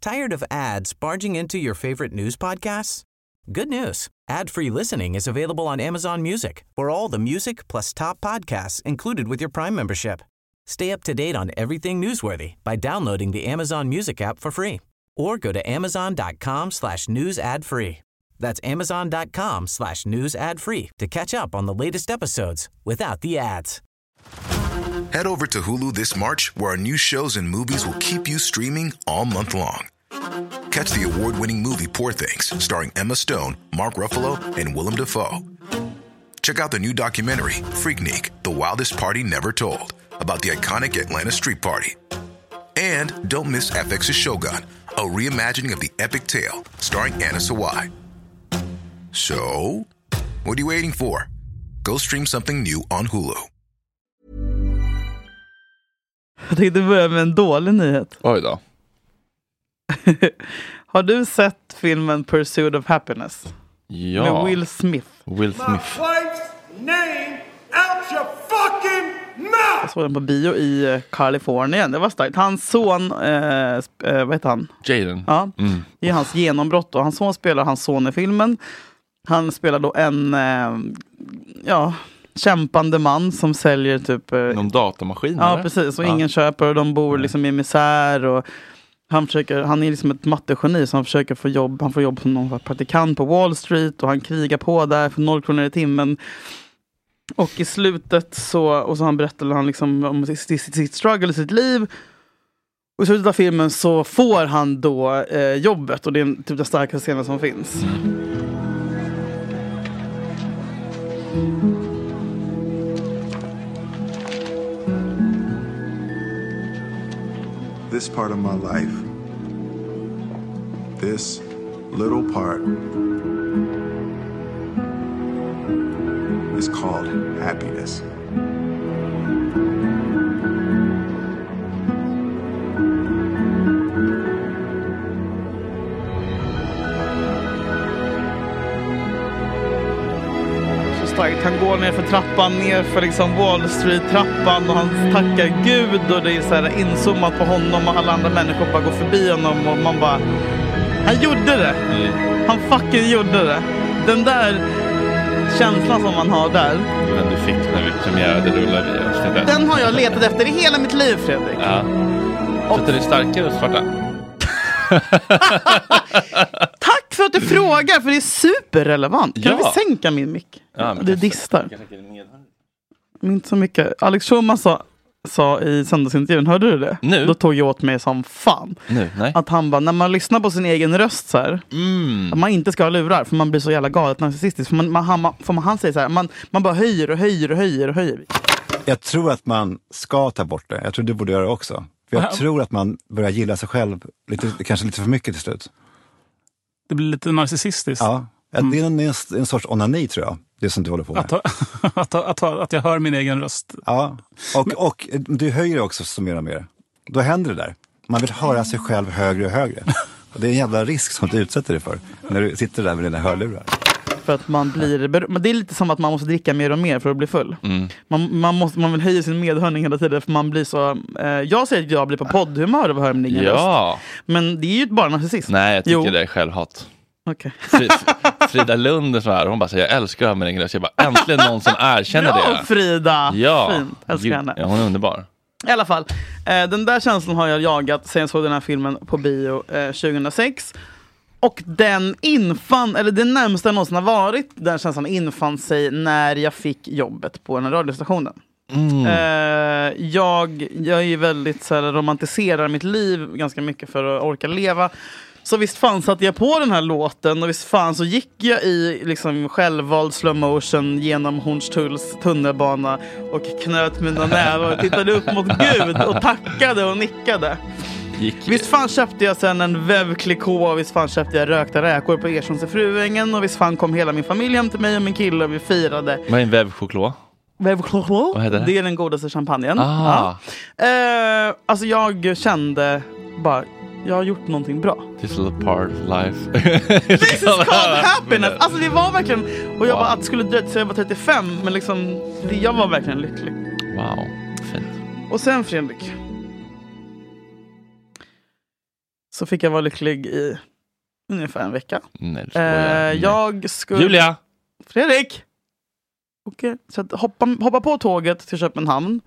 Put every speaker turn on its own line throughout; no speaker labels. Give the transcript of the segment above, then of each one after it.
Tired of ads barging into your favorite news podcasts? Good news. Ad-free listening is available on Amazon Music. For all the music plus top podcasts included with your Prime membership. Stay up to date on everything newsworthy by downloading the Amazon Music app for free or go to amazon.com slash news ad free. That's amazon.com slash news ad free to catch up on the latest episodes without the ads.
Head over to Hulu this March, where our new shows and movies will keep you streaming all month long. Catch the award winning movie Poor Things, starring Emma Stone, Mark Ruffalo, and Willem Dafoe. Check out the new documentary, Freaknik The Wildest Party Never Told, about the iconic Atlanta Street Party. And don't miss FX's Shogun, a reimagining of the epic tale, starring Anna Sawai. So, what are you waiting for? Go stream something new on Hulu.
Jag tänkte börja med en dålig nyhet.
Oj då.
Har du sett filmen Pursuit of Happiness?
Ja.
Med Will Smith.
Will Smith.
wife's name out your fucking mouth!
Jag såg den på bio i eh, Kalifornien. Det var starkt. Hans son, eh, sp- eh, vad heter han?
Jaden.
Ja, det är hans genombrott. Och hans son spelar hans son i filmen. Han spelar då en eh, ja, kämpande man som säljer typ... eh,
Någon datamaskin
Ja,
eller?
precis. Och ingen köper och de bor liksom i misär. Och han, försöker, han är liksom ett mattegeni så han försöker få jobb. Han får jobb som någon praktikant på Wall Street och han krigar på där för noll kronor i timmen. Och i slutet så, och så han berättade han liksom om sitt, sitt, sitt struggle i sitt liv. Och i slutet av filmen så får han då eh, jobbet och det är en- typ den starkaste scenen som finns.
this part of my life, this little part, is called happiness.
så starkt. Han går ner för trappan, ner för liksom Wall Street-trappan och han tackar Gud och det är så här inzoomat på honom och alla andra människor bara går förbi honom och man bara... Han gjorde det! Han fucking gjorde det! Den där känslan som man har där,
Den du fick när vi premiärade Rullar vi avsnitt ett.
den har jag letat efter i hela mitt liv Fredrik.
Ja. Så att den är starkare än svarta.
Tack för att du frågar för det är superrelevant. Kan
Ja.
vi sänka min mick?
Ja, men
det
kanske-
distar. Men Inte så mycket. Alex Schulman sa, sa i söndagsintervjun, hörde du det?
Nu?
Då tog jag åt mig som fan.
Nu? Nej.
Att han bara, när man lyssnar på sin egen röst så här,
Mm.
att man inte ska ha lurar för man blir så jävla galet narcissistisk. För, man, man, han, man, för man, han säger så här, man, man bara höjer och höjer och höjer och höjer.
Jag tror att man ska ta bort det. Jag tror du borde göra det också. För jag tror att man börjar gilla sig själv lite, kanske lite för mycket till slut.
Det blir lite narcissistiskt.
Ja. Ja, Det är en, en, en sorts onani tror jag, det som du håller på med.
Att, ha- att, ha- att, ha- att jag hör min egen röst.
Ja. Och, och du höjer det också så mer och mer. Då händer det där. Man vill höra sig själv högre och högre. Och det är en jävla risk som du utsätter dig för när du sitter där med dina hörlurar.
För att man blir, ber- men det är lite som att man måste dricka mer och mer för att bli full.
Mm.
Man, man, måste, man vill höja sin medhörning hela tiden för man blir så... Eh, jag säger att jag blir på poddhumör av att höra min egen röst.
Ja.
Men det är ju bara narcissism.
Nej, jag tycker
Jo.
det är självhat.
Okej.
Fri- Frida Lund är så här, hon bara säger jag älskar att höra min egen röst. Jag bara äntligen någon som erkänner
Bra
det.
Frida!
Ja,
Fint, älskar
Ju-
henne.
Ja, hon är underbar.
I alla fall, eh, den där känslan har jag jagat sen jag såg den här filmen på bio eh, 2006. Och den infann, eller det närmsta jag någonsin har varit, den känslan infann sig när jag fick jobbet på den här radiostationen. Eh, jag, jag är ju väldigt så här, romantiserar mitt liv ganska mycket för att orka leva. Så visst fan satte jag på den här låten och visst fan så gick jag i liksom självvald slow motion genom Hornstulls tunnelbana och knöt mina nävar och tittade upp mot Gud och tackade och nickade.
Gick
Visst fan köpte jag sen en vevklikå och visst fan köpte jag rökta räkor på Ersons i Fruängen och visst fan kom hela min familj hem till mig och min kille och vi firade.
Vad är en vävchoklad?
Vad
heter det?
det är den godaste champagnen.
Ah,
Ja. Eh, alltså jag kände bara, jag har gjort någonting bra.
this little part of life.
This is called happiness! Alltså det var verkligen, och jag bara att det skulle dröja tills jag var 35 men liksom, det- jag var verkligen lycklig.
Wow, fint.
Och sen Fredrik. Så fick jag vara lycklig i ungefär en vecka.
Nej, du
Eh,
skojar.
jag skulle...
Julia!
Fredrik! Okej, så att hoppa, hoppa på tåget till Köpenhamn.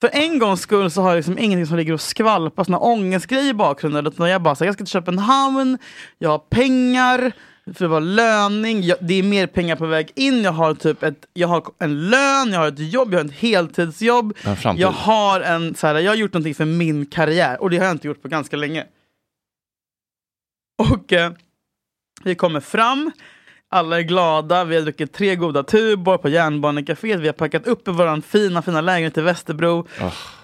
För en gångs skull så har jag liksom ingenting som ligger och skvalpar, såna ångestgrejer i bakgrunden. Utan jag bara, så här, jag ska till Köpenhamn, jag har pengar, för det var löning, jag, det är mer pengar på väg in, jag har typ ett, jag har en lön, jag har ett jobb, jag har ett heltidsjobb.
En framtid.
Jag har en, så här, jag har gjort någonting för min karriär och det har jag inte gjort på ganska länge. Och eh, vi kommer fram, alla är glada, vi har druckit tre goda Tuborg på Järnbanecaféet, vi har packat upp i vår fina, fina lägenhet i Västerbro.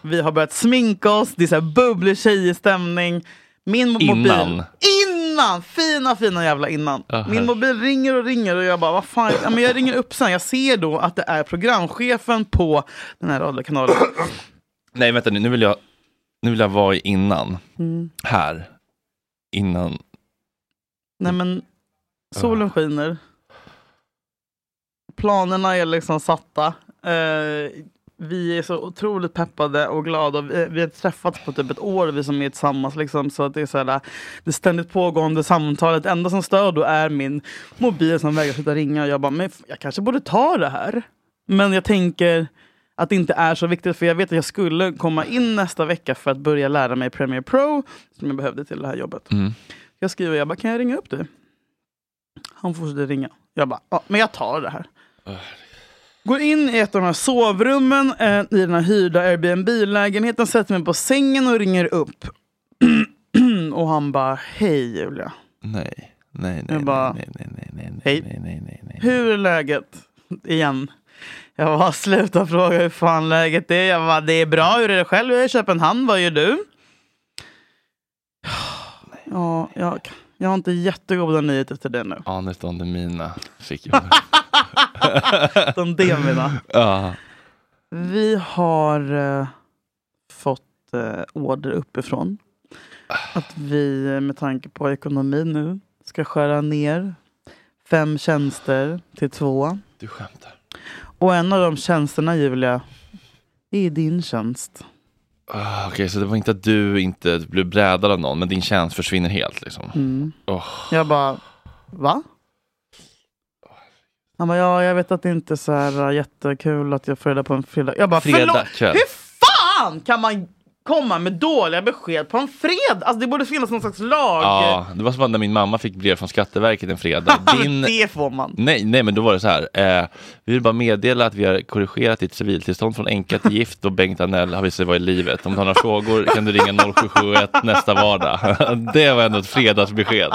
Vi har börjat sminka oss, det är så här bubblig tjejig stämning. Min mo- mobil...
Innan.
Innan! Fina, fina jävla innan. Min mobil ringer och ringer och jag bara, vad fan. Ja, men jag ringer upp sen, jag ser då att det är programchefen på den här radiokanalen.
Nej, vänta nu, nu vill jag, nu vill jag vara i innan. Här. Innan.
Nej men, solen skiner. Planerna är liksom satta. Eh, vi är så otroligt peppade och glada. Vi, vi har träffats på typ ett år, vi som är tillsammans. Liksom, så att det är så här, det ständigt pågående samtalet. enda som stör då är min mobil som vägrar sluta ringa. Jag bara, men f- jag kanske borde ta det här. Men jag tänker att det inte är så viktigt. För jag vet att jag skulle komma in nästa vecka för att börja lära mig Premiere Pro. Som jag behövde till det här jobbet. Jag skriver, jag bara, kan jag ringa upp dig? Han fortsätter ringa. Jag bara, ja, men jag tar det här. Går in i ett av de här sovrummen eh, i den här hyrda Airbnb-lägenheten, sätter mig på sängen och ringer upp. och han bara, hej Julia.
Nej. Nej, nej,
Jag bara,
nej, nej, nej, nej,
hej.
nej, nej, nej, nej, nej.
Hur är läget? Igen. Jag bara, sluta fråga hur fan läget är. Jag bara, det är bra. Hur är det själv? Jag är i Köpenhamn. Vad gör du? Ja, jag, jag har inte jättegoda nyheter till dig nu.
Anet on the mina fick jag.
Utan det mina.
ja.
Vi har eh, fått eh, order uppifrån. Att vi eh, med tanke på ekonomi nu ska skära ner fem tjänster till två.
Du skämtar.
Och en av de tjänsterna Julia, det är din tjänst.
Ah, Okej, så det var inte att du inte blev brädad av någon, men din tjänst försvinner helt liksom.
Mm. Jag bara, va? Han bara, ja jag vet att det inte är så här eh, jättekul att jag får reda på en fredag. Jag bara,
Fredag
förlåt!
kväll.
Hur fan kan man komma med dåliga besked på en fredag? Alltså det borde finnas någon slags lag.
Ja, det var som när min mamma fick brev från Skatteverket en fredag. Din...
Det får man.
Nej, nej, men då var det så här. Eh, vi vill bara meddela att vi har korrigerat ditt civiltillstånd från änka till gift och Bengt Arnell har visat sig vara i livet. Om du har några frågor kan du ringa 0771 nästa vardag. det var ändå ett fredagsbesked.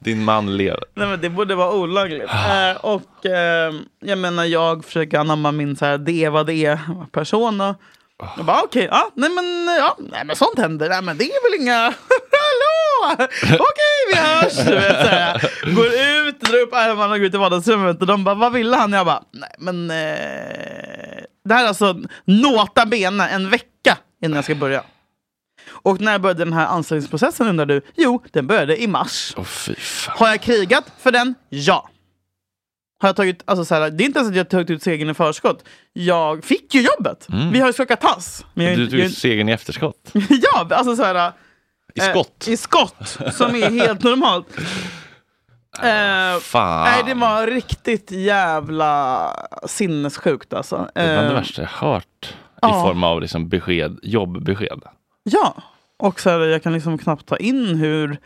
Din man lever.
Nej, men det borde vara olagligt. Eh, och eh, jag menar, jag försöker anamma min så här, E det är vad det är persona. Jag bara okej, ja, nej men, ja, nej men sånt händer. Nej men det är väl inga... Hallå! Okej, vi hörs! Du vet, så här. Går ut, drar upp armarna och går ut i vardagsrummet och de bara, vad ville han? Jag bara, nej men... Eh... Det här är alltså nota bene en vecka innan jag ska börja. Och när började den här anställningsprocessen undrar du? Jo, den började i mars.
Åh fy fan.
Har jag krigat för den? Ja. Har jag tagit, alltså så här, det är inte ens att jag tagit ut segern i förskott. Jag fick ju jobbet. Vi har ju skakat tass. Men jag, är
Mm.
inte-
Du
jag,
tog
är-
segern i efterskott.
ja, alltså så här,
I
eh,
skott.
I skott, som är helt normalt. Eh,
Fan.
Nej, det var riktigt jävla sinnessjukt alltså.
Det är bland
Eh,
det värsta jag hört.
ja.
I form av liksom besked, jobbbesked.
Ja, och så här, jag kan liksom knappt ta in hur,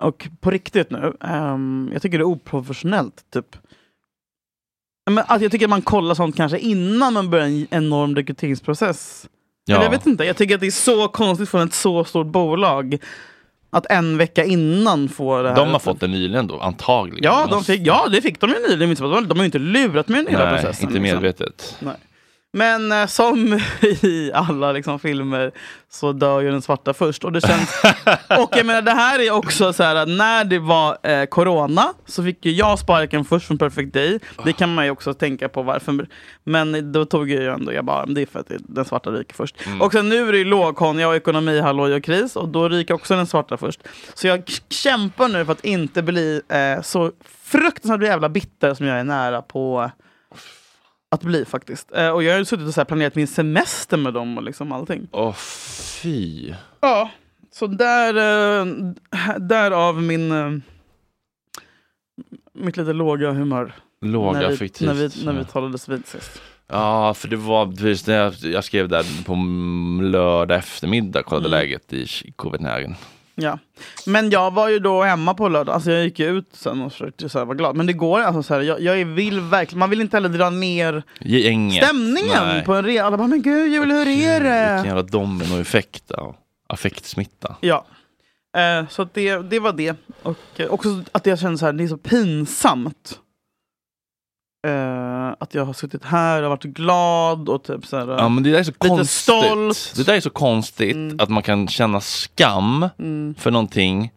och på riktigt nu, ehm, jag tycker det är oprofessionellt typ. Men att jag tycker att man kollar sånt kanske innan man börjar en enorm rekryteringsprocess. Eller jag vet inte, jag tycker att det är så konstigt från ett så stort bolag att en vecka innan få det här.
De har fått det nyligen då, antagligen.
Ja, de fick, ja, det fick de ju nyligen. inte så att De de har ju inte lurat mig i den hela
Nej,
processen.
inte
liksom.
medvetet.
Nej. Men eh, som i alla liksom, filmer så dör ju den svarta först. Och, det känns... och jag menar, det här är också så här att när det var eh, corona så fick ju jag sparken först från Perfect Day. Det kan man ju också tänka på varför. Men då tog jag ju ändå, jag bara, det är för att det- den svarta ryker först. Och sen nu är det ju lågkonja och ekonomi, halloj och kris. Och då ryker också den svarta först. Så jag k- kämpar nu för att inte bli eh, så fruktansvärt jävla bitter som jag är nära på att bli faktiskt. Eh, och jag har ju suttit och så här planerat min semester med dem och liksom allting.
Åh fy.
Ja. Så där, eh, därav min, eh, mitt lite låga humör
Låga
när, vi,
fiktivt.
när, vi, när vi talades vid sist.
Ja, för det var precis när jag, jag skrev där på m- lördag eftermiddag, kollade
Mm.
läget i Ch- Copenhagen.
Ja. Men jag var ju då hemma på lördag, alltså jag gick ju ut sen och försökte så här vara glad. Men det går alltså så här, jag, jag vill verkligen, man vill inte heller dra ner
Gänget.
stämningen
Nej.
på en resa. Alla bara, men gud Julia, hur är
Vilken
det?
jävla dominoeffekt av affektsmitta.
Ja. Eh, så att det, det var det. Och eh, också att jag känner så här, det är så pinsamt. Eh, att jag har suttit här och varit glad och typ så här.
Ja, men det där är så konstigt.
stolt.
Det där är så konstigt
Mm.
att man kan känna skam
mm,
för någonting.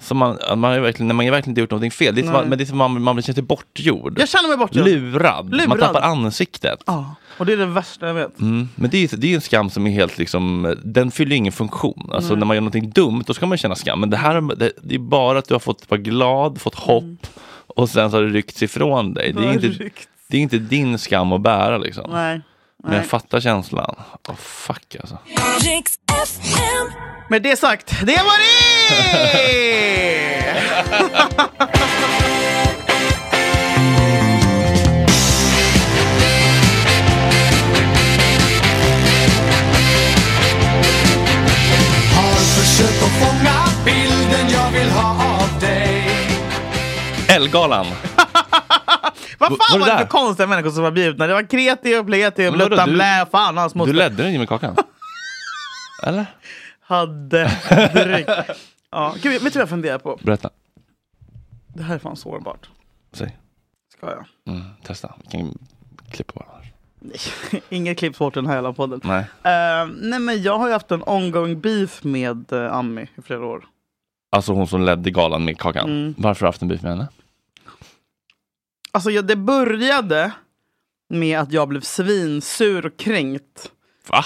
Som man, att man är verkligen, när man är verkligen inte gjort någonting fel. Det är som
Nej.
man, men det är som man, man blir känner sig bortgjord.
Jag känner mig bortgjord.
Lurad. Man
Lurad.
tappar ansiktet.
Ja, och det är det värsta jag vet.
Mm. Men det är, det är en skam som är helt liksom, den fyller ju ingen funktion. Alltså
Mm.
när man gör någonting dumt, då ska man känna skam. Men det här det, det är bara att du har fått vara glad, fått
Mm.
hopp och sen så har det ryckts ifrån dig. Det är, inte,
Mörkt.
det är inte din skam att bära liksom.
Nej.
Men
nej.
jag fattar känslan. Oh, fuck alltså.
Rix FM.
Med det sagt, det var det!
Ellegalan!
Vad
Var
fan
det
var det
där?
för konstiga människor som var bjudna? Det var kreti och pleti och
Men vadå,
blutta
du-
blä, fan och hans
Du
moster.
ledde den Jimmy Kakan. Eller?
Hade dryck. Ja, gud, vet du vad jag funderar på?
Berätta.
Det här är fan sårbart.
Säg.
Ska jag?
Mm, testa. Vi kan klippa bara.
Inget klipp bort den här jävla podden.
Nej.
Eh, nej men jag har ju haft en ongoing beef med eh, Ami i flera år.
Alltså hon som ledde galan med Kakan.
Mm.
Varför har du haft en beef med henne?
Alltså jag, det började med att jag blev svinsur och kränkt.
Va?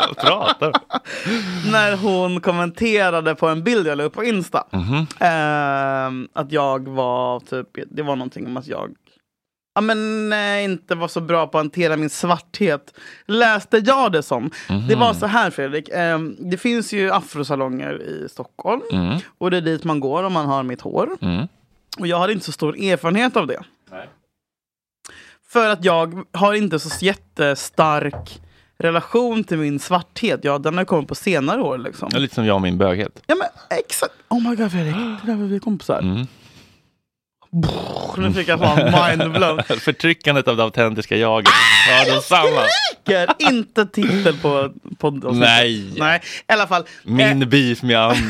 Vad pratar du?
När hon kommenterade på en bild jag la upp på Insta.
Mhm.
Ehm, att jag var typ, det var någonting om att jag ja, men, eh, inte var så bra på att hantera min svarthet. Läste jag det som. Det
Mhm.
var så här Fredrik, ehm, det finns ju afrosalonger i Stockholm.
Mm.
Och det är dit man går om man har mitt hår.
Mm.
Och jag hade inte så stor erfarenhet av det. För att jag har inte så jättestark relation till min svarthet. Ja, den har kommit på senare år liksom.
Ja, Lite som jag och min böghet.
Ja men exakt! Oh my god Fredrik, det där var vi kompisar.
Mm.
Och Nu fick jag fan mindblown.
Förtryckandet av det autentiska jaget. Ja,
Ah,
de samma.
Skriker inte titel på podd.
Nej.
Nej, i alla fall. Eh,
Min beef med Andy.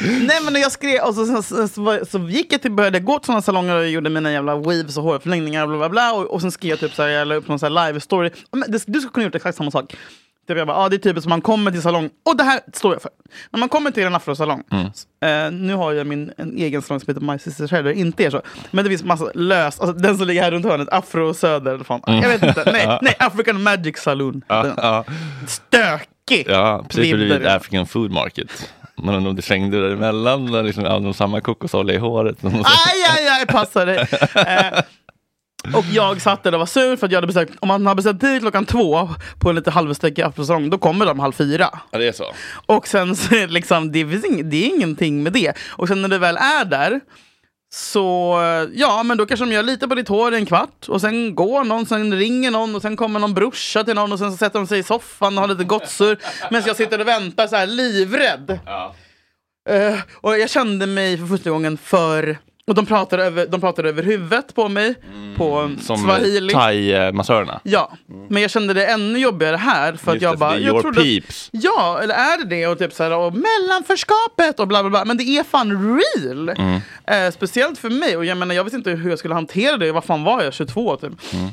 nej men jag skrev och så, så, så, så, var- så gick jag till, började gå till sådana salonger och gjorde mina jävla waves och hårförlängningar bla bla bla. Och, och sen skrev jag typ såhär, jag la upp någon såhär live story. Ja, Men det, du skulle kunna gjort exakt samma sak. Typ jag bara, ah, det är typ som man kommer till salong, och det här står jag för. När man kommer till en afrosalong,
Mm.
s- eh, nu har jag min en egen salong som heter My Sister Shadow, det inte är så. Men det finns massa lös, alltså, den som ligger här runt hörnet, Afro Söder eller fan. Jag vet inte, nej, nej, African Magic Saloon. Den.
Mm. ja,
Stökig!
ja, precis
Bilder.
bredvid African Food Market. Man undrar om det slängde däremellan, där liksom, hade de samma kokosolja i håret.
Aj, aj, aj, passa dig. Eh, och jag satt där och var sur för att jag hade beställt, om man har beställt tid klockan två på en lite halvstökig afrosalong, då kommer de halv fyra.
Ja, det är så.
Och sen så är det liksom, det, finns ing, det är ingenting med det. Och sen när du väl är där, så ja, men då kanske de gör lite på ditt hår i en kvart och sen går någon, sen ringer någon och sen kommer någon brorsa till någon och sen så sätter de sig i soffan och har lite gott surr. Medan jag sitter och väntar så här livrädd. Eh, och jag kände mig för första gången för... Och de pratade över, de pratade över huvudet på mig, på
Mm. Som
swahili.
thai-massörerna.
Ja, men jag kände det ännu jobbigare här för att
Just
jag
det,
bara...
för det är
jag
your
trodde att-
peeps.
Ja, eller är det det? Och typ så här, och mellanförskapet och bla bla bla. Men det är fan real!
Mm.
Eh, speciellt för mig. Och jag menar, jag visste inte hur jag skulle hantera det. Vad fan var jag? 22 typ.
Mm.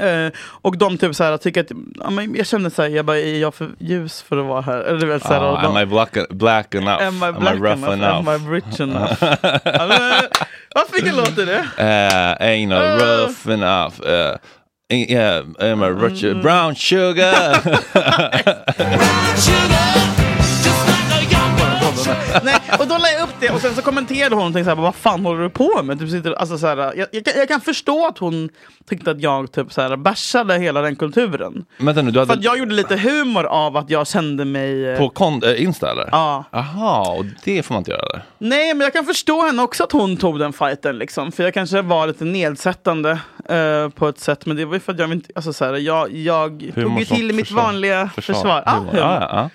Eh, och de typ så här tycker att, ja, men jag kände så här, jag bara, är jag för ljus för att vara här? Eller du vet så här, och
Ah,
de,
am I black, black enough?
Am I black enough?
rough enough?
Am I rich enough? Ja, men, Vad fick låter det?
Uh, ain't no
Uh.
rough enough. Uh, ain't- yeah, am
Mm,
I rich? Brown sugar.
Sugar, just like a young one.
Nej, och då la jag upp det och sen så kommenterade hon någonting såhär, vad fan håller du på med? Typ sitter, alltså såhär, jag, jag, kan- jag kan förstå att hon tyckte att jag typ såhär, bärsade hela den kulturen.
Vänta nu, du
För att
hade
jag gjorde lite humor av att jag kände mig... eh,
på kon- eh, Insta eller?
Ja.
Aha, och det får man inte göra där.
Nej, men jag kan förstå henne också att hon tog den fighten. Liksom. För jag kanske var lite nedsättande eh, på ett sätt. Men det var ju för att jag inte... Alltså, så här, jag jag tog
Hur
ju
måste man
till mitt
försvara-
vanliga försvar. Ah,
Humor.
hur?
ja, ja, ja.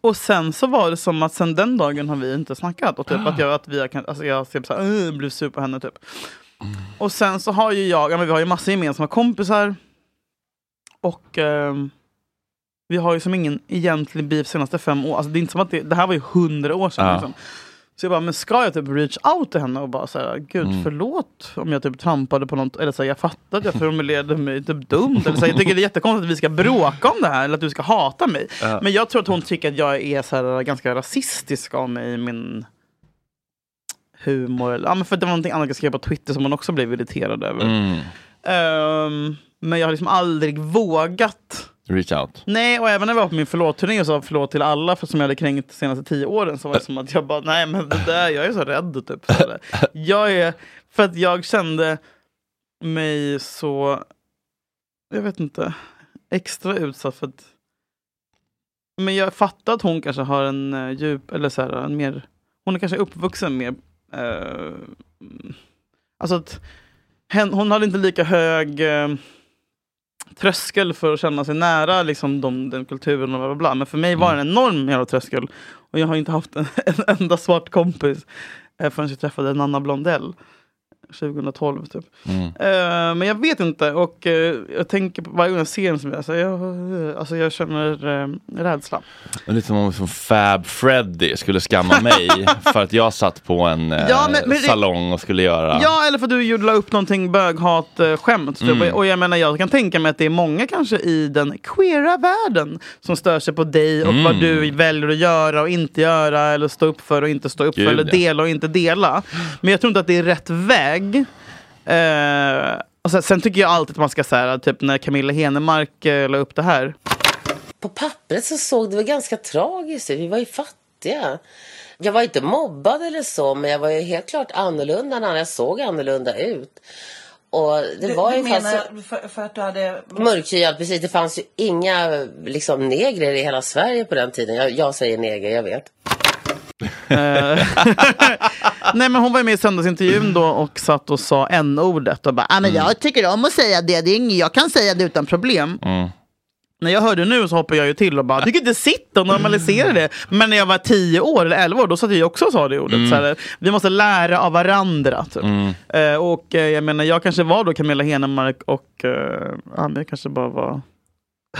Och sen så var det som att sen den dagen har vi inte snackat. Och typ att jag, att vi har, kan- alltså jag typ så här, "Ugh", blev sur på henne typ. Och sen så har ju jag, ja, men vi har ju massa gemensamma kompisar. Och ehm, vi har ju som ingen egentlig beef senaste fem år. Alltså det är inte som att det, det här var ju hundra år sedan.
Ja.
Liksom. Så jag bara, men ska jag typ reach out till henne och bara säga, gud
Mm.
förlåt om jag typ trampade på något, eller så här, jag fattar att jag formulerade mig typ dumt, eller så här, jag tycker det är jättekonstigt att vi ska bråka om det här, eller att du ska hata mig. Men jag tror att hon tycker att jag är så här, ganska rasistisk av mig i min humor. Eller, ja, men för det var någonting annat jag skrev på Twitter som hon också blev irriterad över.
Mm.
Ehm, men jag har liksom aldrig vågat.
Reach out.
Nej, och även när jag var på min förlåt-turné och sa förlåt till alla för som jag hade kränkt de senaste tio åren så var det som att jag bara, nej men det där, jag är så rädd typ. Så där. Jag är, för att jag kände mig så, jag vet inte, extra utsatt för att men jag fattar att hon kanske har en eh, djup, eller så här, en mer, hon är kanske uppvuxen mer, eh, alltså att hen, hon hade inte lika hög eh, tröskel för att känna sig nära liksom, de, den kulturen och bla bla bla. Men för mig var det en enorm jävla tröskel. Och jag har inte haft en, en enda svart kompis eh, förrän jag träffade Nanna Blondell. 2012 typ.
Mm.
Eh, men jag vet inte och eh, jag tänker på varje gång jag ser henne som jag, alltså, jag, alltså, jag känner eh, rädsla.
Det är lite som om som Fab Freddy skulle skamma mig för att jag satt på en eh,
Ja, men- men det-
salong och skulle göra... Mm.
Ja, eller för att du gjorde- la upp någonting böghat-skämt. Typ. Och jag menar, jag kan tänka mig att det är många kanske i den queera världen som stör sig på dig och
Mm.
vad du väljer att göra och inte göra eller stå upp för och inte stå upp
Gud,
för eller
ja.
dela och inte dela. Men jag tror inte att det är rätt väg. Eh, och sen, sen tycker jag alltid att man ska säga, typ när Camilla Henemark eh, la upp det här.
På pappret så såg det väl ganska tragiskt ut. Vi var ju fattiga. Jag var inte mobbad eller så, men jag var ju helt klart annorlunda när jag såg annorlunda ut. Och det var ju faktiskt...
för, för att du hade...
Mörkhyad, precis. Det fanns ju inga liksom, negrer i hela Sverige på den tiden. Jag, jag säger neger, jag vet.
Nej men hon var ju med i söndagsintervjun då och satt och sa n-ordet och bara ah, men jag tycker om att säga det, det är inget, jag kan säga det utan problem. När jag hörde nu så hoppar jag ju till och bara, du kan inte sitta och normalisera det. Men när jag var 10 år eller 11 år, då satt jag ju också och sa det ordet. Så här, vi måste lära av varandra. Typ. Eh, och eh, jag menar, jag kanske var då Camilla Henemark och eh, ja, men jag kanske bara var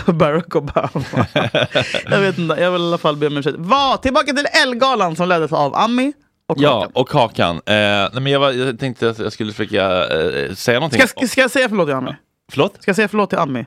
Barack Obama. jag vet inte, jag vill i alla fall be om ursäkt. Va, tillbaka till Ellegalan som leddes av Ami och
Ja,
Håkan.
och Kakan. Eh, nej, men jag, var, jag tänkte att jag skulle försöka eh, säga någonting.
Ska, ska, ska jag säga förlåt till Ami?
Förlåt?
Ska jag säga förlåt till Ami?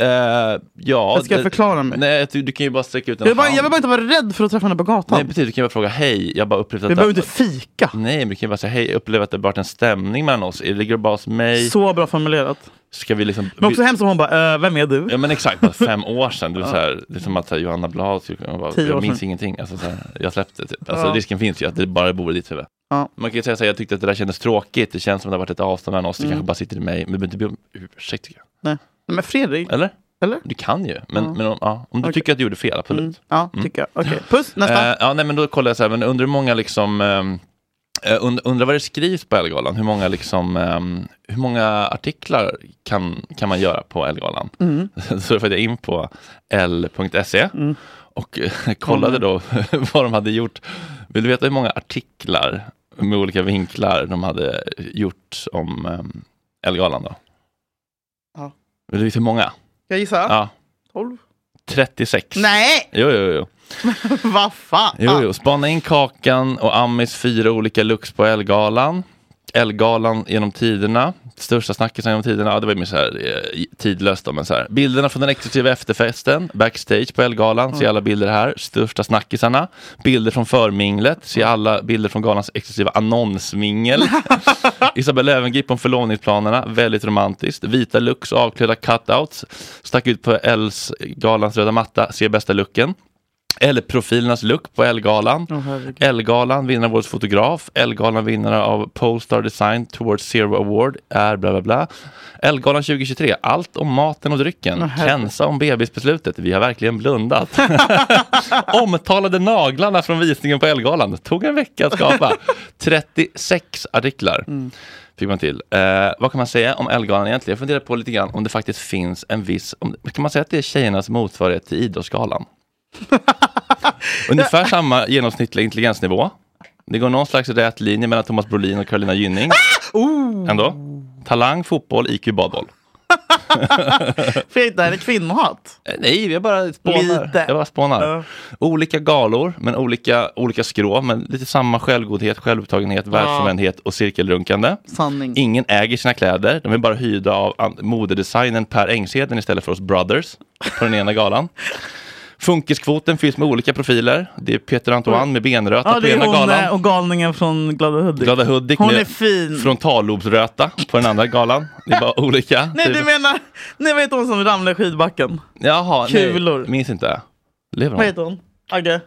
Eh, ja,
Jag ska
det-
förklara mig.
Nej, du, du kan ju bara sträcka ut en
Jag vill, bara,
hand.
jag vill bara inte vara rädd för att träffa henne på gatan.
Nej, precis. Du kan ju bara fråga hej. Jag bara upplevde att...
Vi
det-
behöver inte fika.
Nej, men du kan ju bara säga hej. Jag upplevde att det har varit en stämning mellan oss. Ligger det bara hos mig?
Så bra formulerat.
Ska vi liksom...
Men också hemskt om hon bara, äh, vem är du?
Ja men exakt, bara fem år sedan. Det är, så här, det är som att så här, Johanna Blad skulle kunna bara,
Tio år
jag minns
sedan.
ingenting. Alltså, så här, jag släppte typ. Alltså,
Ja.
Risken finns ju att det bara bor i ditt huvud.
Ja.
Man kan ju säga så här, jag tyckte att det där kändes tråkigt. Det känns som att det har varit ett avstånd mellan
Mm.
oss. Det kanske bara sitter i mig. Men du behöver inte be om ursäkt tycker jag.
Nej. Nej, Men Fredrik,
Eller?
eller?
Du kan ju. Men,
Ja.
men om, ja, om du
Okej.
tycker att du gjorde fel, absolut.
Mm. Ja, tycker jag. Okej, puss, nästa.
Eh, ja, nej, men då kollar jag så här, men undrar hur många liksom, ehm, eh, und, undrar vad det skrivs på Ellegalan? Hur många liksom, ehm, hur många artiklar kan, kan man göra på Ellegalan?
Mm.
Så då följde jag in på l.se E. och eh, kollade då vad de hade gjort. Vill du veta hur många artiklar med olika vinklar de hade gjort om um, Ellegalan då?
Ja.
Vill du veta hur många?
Jag gissar.
Ja,
12?
36.
Nej,
Jo, jo, jo.
vad fan!
Jo, jo. Spana in Kakan och Amis fyra olika looks på Elgalan. Elgalan genom tiderna. Största snackisen genom tiderna. Ja, det var ju mer så här, eh, tidlöst. Då, men så här. Bilderna från den exklusiva efterfesten. Backstage på Elgalan. Se alla bilder här. Största snackisarna. Bilder från förminglet. Se alla bilder från galans exklusiva annonsmingel. Isabella Löwengrip om förlovningsplanerna, väldigt romantiskt. Vita looks, avklädda cutouts. Stack ut på Els galans röda matta, se bästa looken. Eller Profilernas look på Ellegalan.
Åh, herregud.
Ellegalan, vinnare av Årets fotograf. Ellegalan, vinnare av Polestar Design Towards Zero Award, är bla bla bla. Ellegalan 2023, allt om maten och drycken. Kensa om bebisbeslutet, vi har verkligen blundat. Omtalade naglarna från visningen på Ellegalan, tog en vecka att skapa. 36 artiklar.
Mm.
Fick man till. Eh, vad kan man säga om Ellegalan egentligen? Jag funderar på lite grann om det faktiskt finns en viss, om, kan man säga att det är tjejernas motsvarighet till Idrottsgalan? Ungefär samma genomsnittliga intelligensnivå. Det går någon slags rät linje mellan Thomas Brolin och Carolina Gynning.
Ah! Oh!
Ändå. Talang, fotboll, IQ, badboll.
Fredrik, det här är kvinnohat.
Eh, Nej, jag bara spånar.
Lite.
Jag bara spånar.
Ja.
Olika galor, men olika, olika skrå. Men lite samma självgodhet, självupptagenhet, världsfrånvändhet och cirkelrunkande.
Sanning.
Ingen äger sina kläder. De är bara hyrda av an- modedesignern Per Engsheden istället för oss brothers på den ena galan. Funkiskvoten fylls med olika profiler. Det är Peter Antoine med
Mm.
benröta
Ja,
på
det är
ena
hon
galan.
eh, och galningen från Glada Hudik.
Glada Hudik
Hon
med
är fin.
frontallobsröta på den andra galan. Det är bara olika.
Nej, du menar, nej, vad heter hon som ramlade i skidbacken?
Jaha,
Kulor.
Nej, minns inte. Lever
Vad
hon?
heter hon? Agge?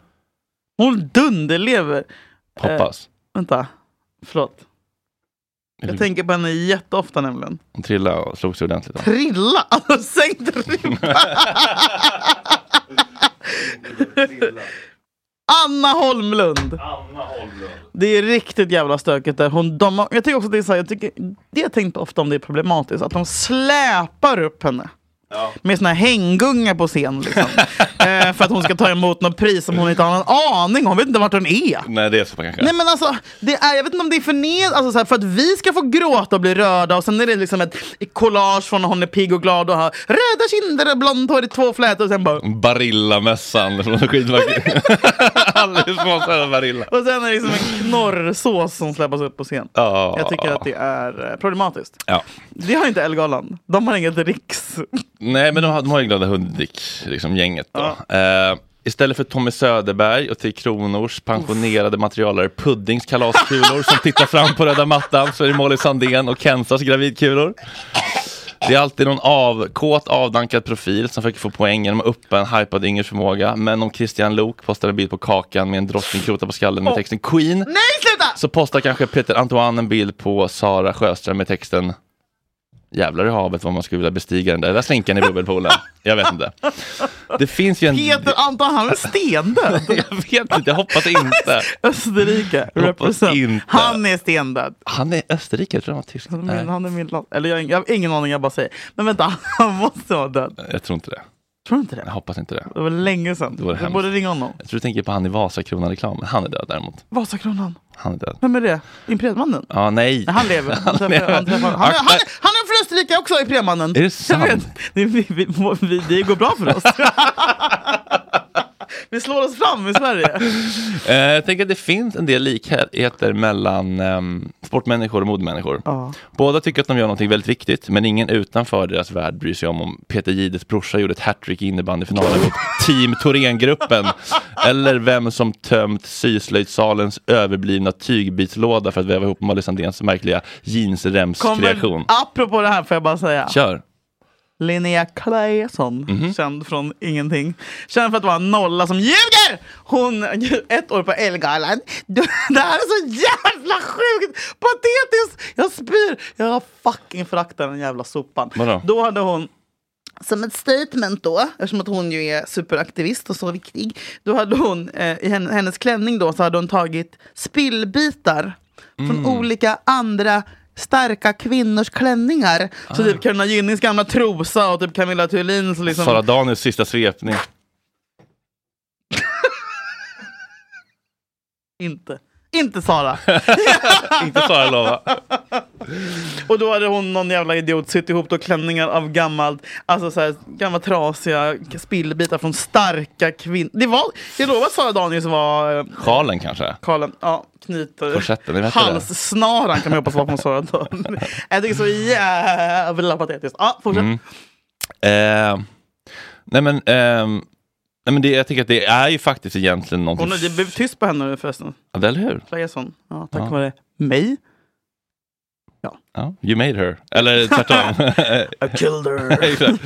Hon dunderlever.
Hoppas.
Vänta, förlåt. Jag
Vill-
tänker på henne jätteofta nämligen.
Hon trillade och slog sig ordentligt.
Trilla! Alltså sänkt ribban! Anna Holmlund. Det är riktigt jävla stökigt där. Hon, de, har- jag tycker också att det är så här, jag tycker, det har jag tänkt på ofta om det är problematiskt, att de släpar upp henne. Med såna här hänggungar på scen liksom. eh, för att hon ska ta emot något pris som hon inte har någon aning om. Hon vet inte vart hon är.
Nej, det är så kanske.
Nej men alltså, det är, jag vet inte om det är förned, alltså, så här, för att vi ska få gråta och bli röda och sen är det liksom ett collage från när hon är pigg och glad och har röda kinder och blont hår i två flätor och sen bara...
Barillamössan från skidbacken. Alldeles sponsrad Barilla.
Och sen är det liksom en knorrsås som släppas upp på scen.
Ja.
Jag tycker att det är eh, problematiskt.
Ja.
Det har inte Ellegalan. De har inget riks...
Nej, men de har, de har ju Glada Hudik-gänget. Liksom, gänget då. Eh, istället för Tommy Söderberg och Tre Kronors pensionerade materialare Puddings kalaskulor som tittar fram på röda mattan så är det Molly Sandén och Kensas gravidkulor. Det är alltid någon av, kåt avdankad profil som försöker få poäng genom att uppa en hypad yngres förmåga. Men om Christian Lok postar en bild på Kakan med en drottningkrota på skallen med texten Queen
Nej sluta!
så postar kanske Peter Antoine en bild på Sara Sjöström med texten Jävlar i havet vad man skulle vilja bestiga den där, där slinkan i bubbelpoolen. Jag vet inte. Det finns ju en...
Peter Anton, han är stendöd.
Jag vet inte, jag hoppas inte.
Österrike,
Hoppas
represent.
inte.
Han är stendöd.
Han är österrikare, tror jag. Tyskland.
Han är min,
Nej,
han är min land. Eller jag, har ing- jag har ingen aning, jag bara säger. Men vänta, han måste vara död.
jag tror inte det.
Tror du inte
Jag
det?
hoppas inte det.
Det var länge sedan.
var det
Du
hemskt.
borde ringa honom.
Jag tror du tänker på han i Vasakronan-reklamen. Han är död däremot.
Vasakronan.
Han är död.
Vem är det? Imperiemannen?
Ja, nej.
Nej, han lever. Han, träffar, han, träffar. Han, är, han, är, han är från Österrike också, Imperiemannen.
Är det sant?
Jag vet. Det, vi, vi, vi, det går bra för oss. vi slår oss fram i Sverige.
Eh, jag tänker att det finns en del likheter mellan ehm, sportmänniskor och modemänniskor. Båda tycker att de gör någonting väldigt viktigt, men ingen utanför deras värld bryr sig om om Peter Gides brorsa gjorde ett hattrick i innebandyfinalen mot Team Thorengruppen. eller vem som tömt syslöjdsalens överblivna tygbitslåda för att väva ihop Molly Sandéns märkliga jeansremskreation.
apropå det här får jag bara säga.
Kör!
Linnea Claesson, känd från ingenting. Känd för att vara en nolla som ljuger! Hon, ett år på Ellegalan. Du, Det här är så jävla sjukt patetiskt! Jag spyr! Jag fucking föraktar den jävla sopan.
Vadå?
Då hade hon som ett statement då, eftersom att hon ju är superaktivist och så viktig, då hade hon eh, i hennes, hennes klänning då så hade hon tagit spillbitar från olika andra starka kvinnors klänningar. Så typ Carolina Gynnings gamla trosa och typ Camilla Thulins liksom.
Sara Danius sista svepning.
Inte. Inte Sara.
Inte Sara lova.
Och då hade hon någon jävla idiot sytt ihop då klänningar av gammalt, alltså så här, gamla trasiga spillbitar från starka kvinnor. Det var, jag lovar att Sara Danius var eh,
Sjalen kanske?
Karlen, ja, knyter.
Korsetten, ni vet det där.
Halssnaran kan man hoppas vara på en sådan. Jag tycker så jävla patetiskt. Ja, fortsätt.
Mm. Eh, nej men, ehm, nej men det, jag tycker att det är ju faktiskt egentligen någonting.
Hon, det blev tyst på henne nu förresten.
Ja, Eller hur?
Claesson. Ja, tack
Ja.
vare mig.
Ja, you made her. Eller tvärtom.
I killed her.
Exakt.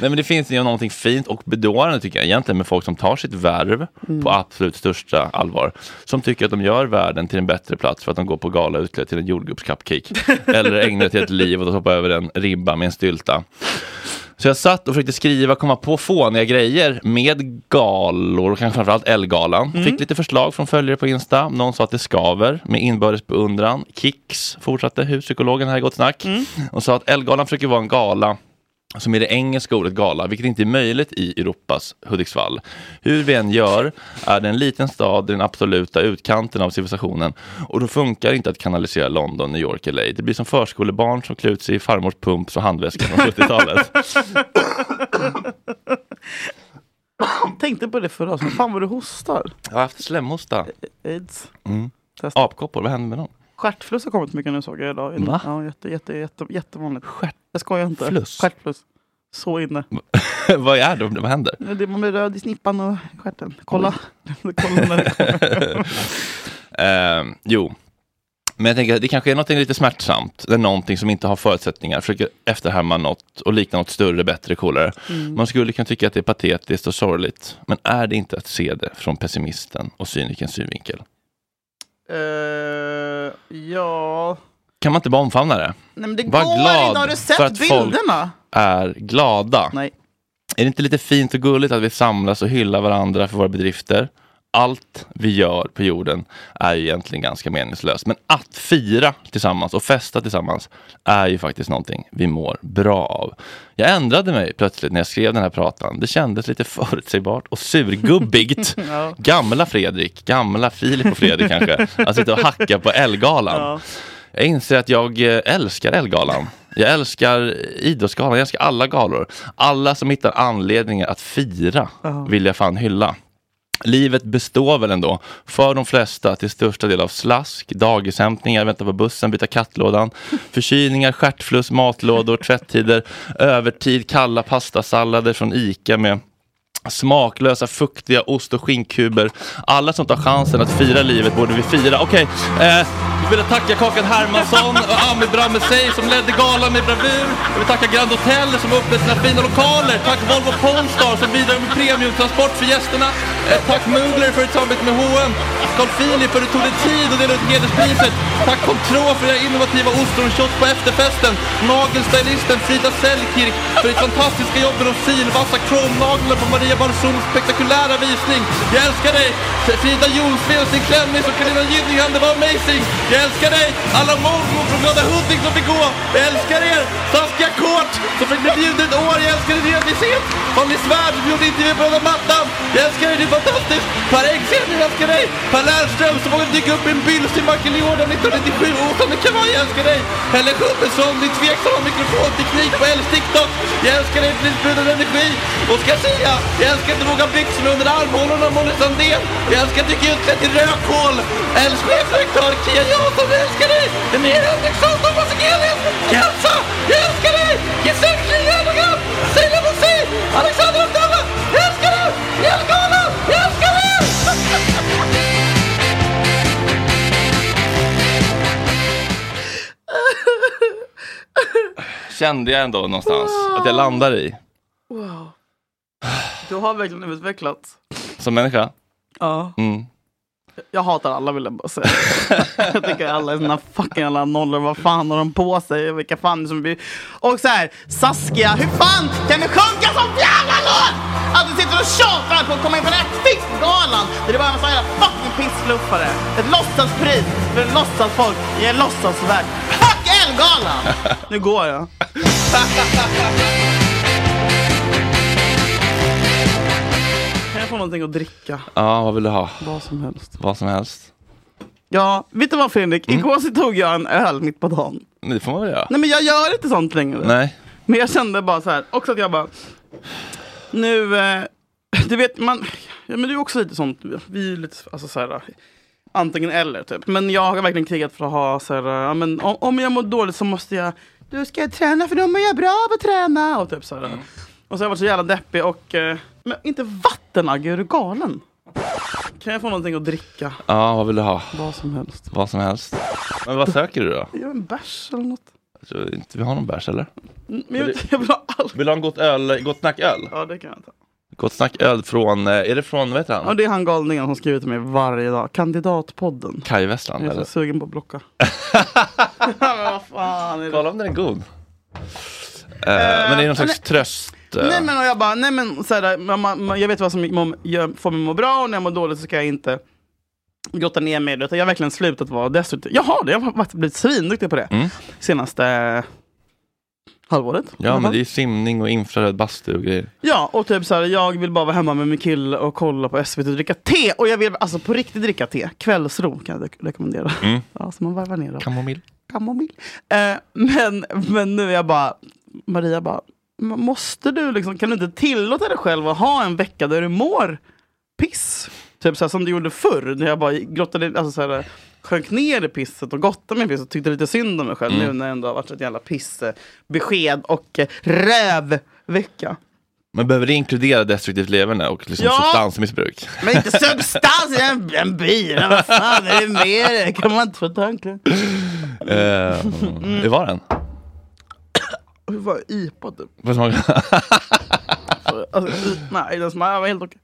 Nej, men det finns ju någonting fint och bedårande tycker jag egentligen med folk som tar sitt värv
Mm.
på absolut största allvar. Som tycker att de gör världen till en bättre plats för att de går på gala utklädda till en jordgubbscupcake. Eller ägnar till ett liv åt att hoppa över en ribba med en stylta. Så jag satt och försökte skriva, komma på fåniga grejer med galor, kanske framförallt Ellegalan.
Mm.
Fick lite förslag från följare på Insta. Någon sa att det skaver med inbördes beundran. Kicks fortsatte huspsykologen här i Gott Snack och sa att Ellegalan försöker vara en gala som är det engelska ordet gala, vilket inte är möjligt i Europas Hudiksvall. Hur vi än gör är det en liten stad i den absoluta utkanten av civilisationen och då funkar det inte att kanalisera London, New York, LA. Det blir som förskolebarn som klut sig i farmors pumps och handväska från 70-talet.
Tänkte på det förra avsnittet. Fan vad du hostar.
Jag har haft slemhosta.
Aids.
Mm. Apkoppor, vad händer med dem?
Stjärtfluss har kommit mycket nu såg jag idag.
Va?
Ja, jätte, jätte, jätte, jättevanligt. Stjärt... Jag skojar inte.
Fluss?
Stjärtfluss. Så inne.
vad är det? Vad händer?
Nu är Det man blir röd i snippan och stjärten. Kolla. Kolla när det kommer.
Eh, jo. Men jag tänker att det kanske är något lite smärtsamt. Det är någonting som inte har förutsättningar. Försöker efterhärma något och likna något större, bättre, coolare.
Mm.
Man skulle kunna tycka att det är patetiskt och sorgligt. Men är det inte att se det från pessimisten och cynikerns synvinkel?
Eh, ja...
Kan man inte bara omfamna det?
Nej men det
Var
går
glad
inte. Har du
för
sett
att folk-
bilderna?
Är glada.
Nej.
Är det inte lite fint och gulligt att vi samlas och hyllar varandra för våra bedrifter? Allt vi gör på jorden är ju egentligen ganska meningslöst. Men att fira tillsammans och festa tillsammans är ju faktiskt någonting vi mår bra av. Jag ändrade mig plötsligt när jag skrev den här pratan. Det kändes lite förutsägbart och surgubbigt.
Ja.
Gamla Fredrik, gamla Filip och Fredrik kanske, att sitta och hacka på Ellegalan.
Ja.
Jag inser att jag eh, älskar Ellegalan. Jag älskar Idrottsgalan, jag älskar alla galor. Alla som hittar anledningar att fira
Ja.
vill jag fan hylla. Livet består väl ändå, för de flesta, till största del av slask, dagishämtningar, vänta på bussen, byta kattlådan, förkylningar, stjärtfluss, matlådor, tvättider, övertid, kalla pastasallader från Ica med smaklösa, fuktiga ost och skinkkuber. Alla som tar chansen att fira livet borde vi fira. Okej, eh, jag vill tacka Kakan Hermansson och Ami Bramesey som ledde galan med bravur. Jag vill tacka Grand Hotel som öppnade sina fina lokaler. Tack Volvo Polestar som bidrar med premiumtransport för gästerna. Eh, tack Moogler för ett samarbete med H&M. Carl Philip för att du tog dig tid och delade ut hederspriset. Tack Control för era innovativa ostronshot på efterfesten. Nagelstylisten Frida Sellkirk för ditt fantastiska jobb med de silvassa kromnaglarna på Maria Barsols spektakulära visning. Jag älskar dig! Frida Jonsved och sin klänning från Carolina Gynninghand, det var amazing! Jag älskar dig! Alla mormor från Glada Hudik som fick gå! Jag älskar er! Taskiga Kort som fick bli bjuden ett år, jag älskar er envishet! Fanny Svärd som gjorde intervju på röda mattan! Jag älskar er, du är fantastisk! Per Engsten, jag älskar dig! Per Lernström som vågade dyka upp i en bylls i Michael Jordan 1997 och åka med kavaj, jag älskar dig! Helle Schubesson, din tveksamma mikrofonteknik på Els TikTok! Jag älskar dig för din sprudlande energi! Oscar Zia, jag älskar att du vågar byxorna under armhålorna, Molly Sandén! Jag älskar att du gick utklädd till rökhål! Els chefredaktör Kia Jansson, jag älskar dig! Linnea Henriksson, Thomas Ekelius, Kelsa! Jag älskar dig! Gisela Liljegraf, Sila Bosse, Alexander Abdullah! Jag älskar dig! Jag älskar honom! Jag älskar er! Kände jag ändå någonstans att jag landar i
Wow. Du har verkligen utvecklats.
som människa.
Ja.
Mm.
Jag hatar alla vill jag bara säga. jag tycker alla är såna fucking alla nollor. Vad fan har de på sig? Vilka fan är det som blir... Och så här, Saskia, hur fan kan du sjunka som jävla låt? Att du sitter och tjatar på att komma in på Netflix-galan. Där det bara är en massa jävla fucking pissluffare. Ett låtsaspris för låtsasfolk i en låtsasvärld. Fuck Ellegalan! Nu går jag. Kan jag få någonting att dricka?
Ja, vad vill du ha?
Vad som helst.
Vad som helst.
Ja, vet du vad Fredrik? Igår så tog jag en öl mitt på dagen.
Men det får man väl göra?
Nej men jag gör inte sånt längre.
Nej.
Men jag kände bara så här, också att jag bara, nu, eh, du vet man, ja, men du är också lite sånt, vi är ju lite, alltså så här, antingen eller typ. Men jag har verkligen krigat för att ha så här, ja, men om, om jag mår dåligt så måste jag, du ska jag träna för då mår jag bra på att träna. Och typ så här. Och så har jag varit så jävla deppig och, eh, men inte vatten Agge, är du galen? Kan jag få någonting att dricka?
Ja, vad vill du ha?
Vad som helst.
Vad som helst. Men vad söker du då?
Jag en bärs eller något.
Jag tror inte vi har någon bärs eller?
Men jag, jag vill ha allt.
Vill du ha en gott, öl, gott snack öl?
Ja, det kan jag ta.
Gott snack öl från, eh, är det från, vad heter han?
Ja, det är han galningen som skriver till mig varje dag. Kandidatpodden.
Kaj Westland
Jag är så
eller?
sugen på att blocka. Men vad fan är det?
Kolla om den är god. Eh, men det är någon slags tröst. eh.
Nej men och jag bara, nej men så här, man, man, jag vet vad som må- gör- får mig att må bra och när jag mår dåligt så ska jag inte grotta ner mig i det. utan Jag har verkligen slutat vara destruktiv. Jag har det, jag har varit- blivit svinduktig på det
Mm.
senaste halvåret. i
Ja
alla
men
fall.
det är simning och infraröd bastu och grejer.
ja och typ så här, jag vill bara vara hemma med min kille och kolla på SVT och dricka te. Och jag vill alltså på riktigt dricka te. Kvällsro kan jag dek- rekommendera.
Mm.
Ja, så man varvar ner dem.
Kamomill.
kamomill. Eh, men, men nu är jag bara, Maria bara, "M- måste du liksom, kan du inte tillåta dig själv att ha en vecka där du mår piss? Typ så här som du gjorde förr, när jag bara grottade, alltså så här, sjönk ner i pisset och gottade mig i pisset och tyckte lite synd om mig själv nu när jag ändå har varit så ett jävla pissbesked och eh, rävvecka.
Men behöver det inkludera destruktivt leverne och liksom
Ja.
substansmissbruk?
Men inte substans, jag är en, en bira, vad fan är det med det? Kan man inte få tanken?
Eh,
Mm.
Hur var den?
Hur var IPA typ?
Vad smakade den?
Alltså, i- nej, den smakar var helt okej.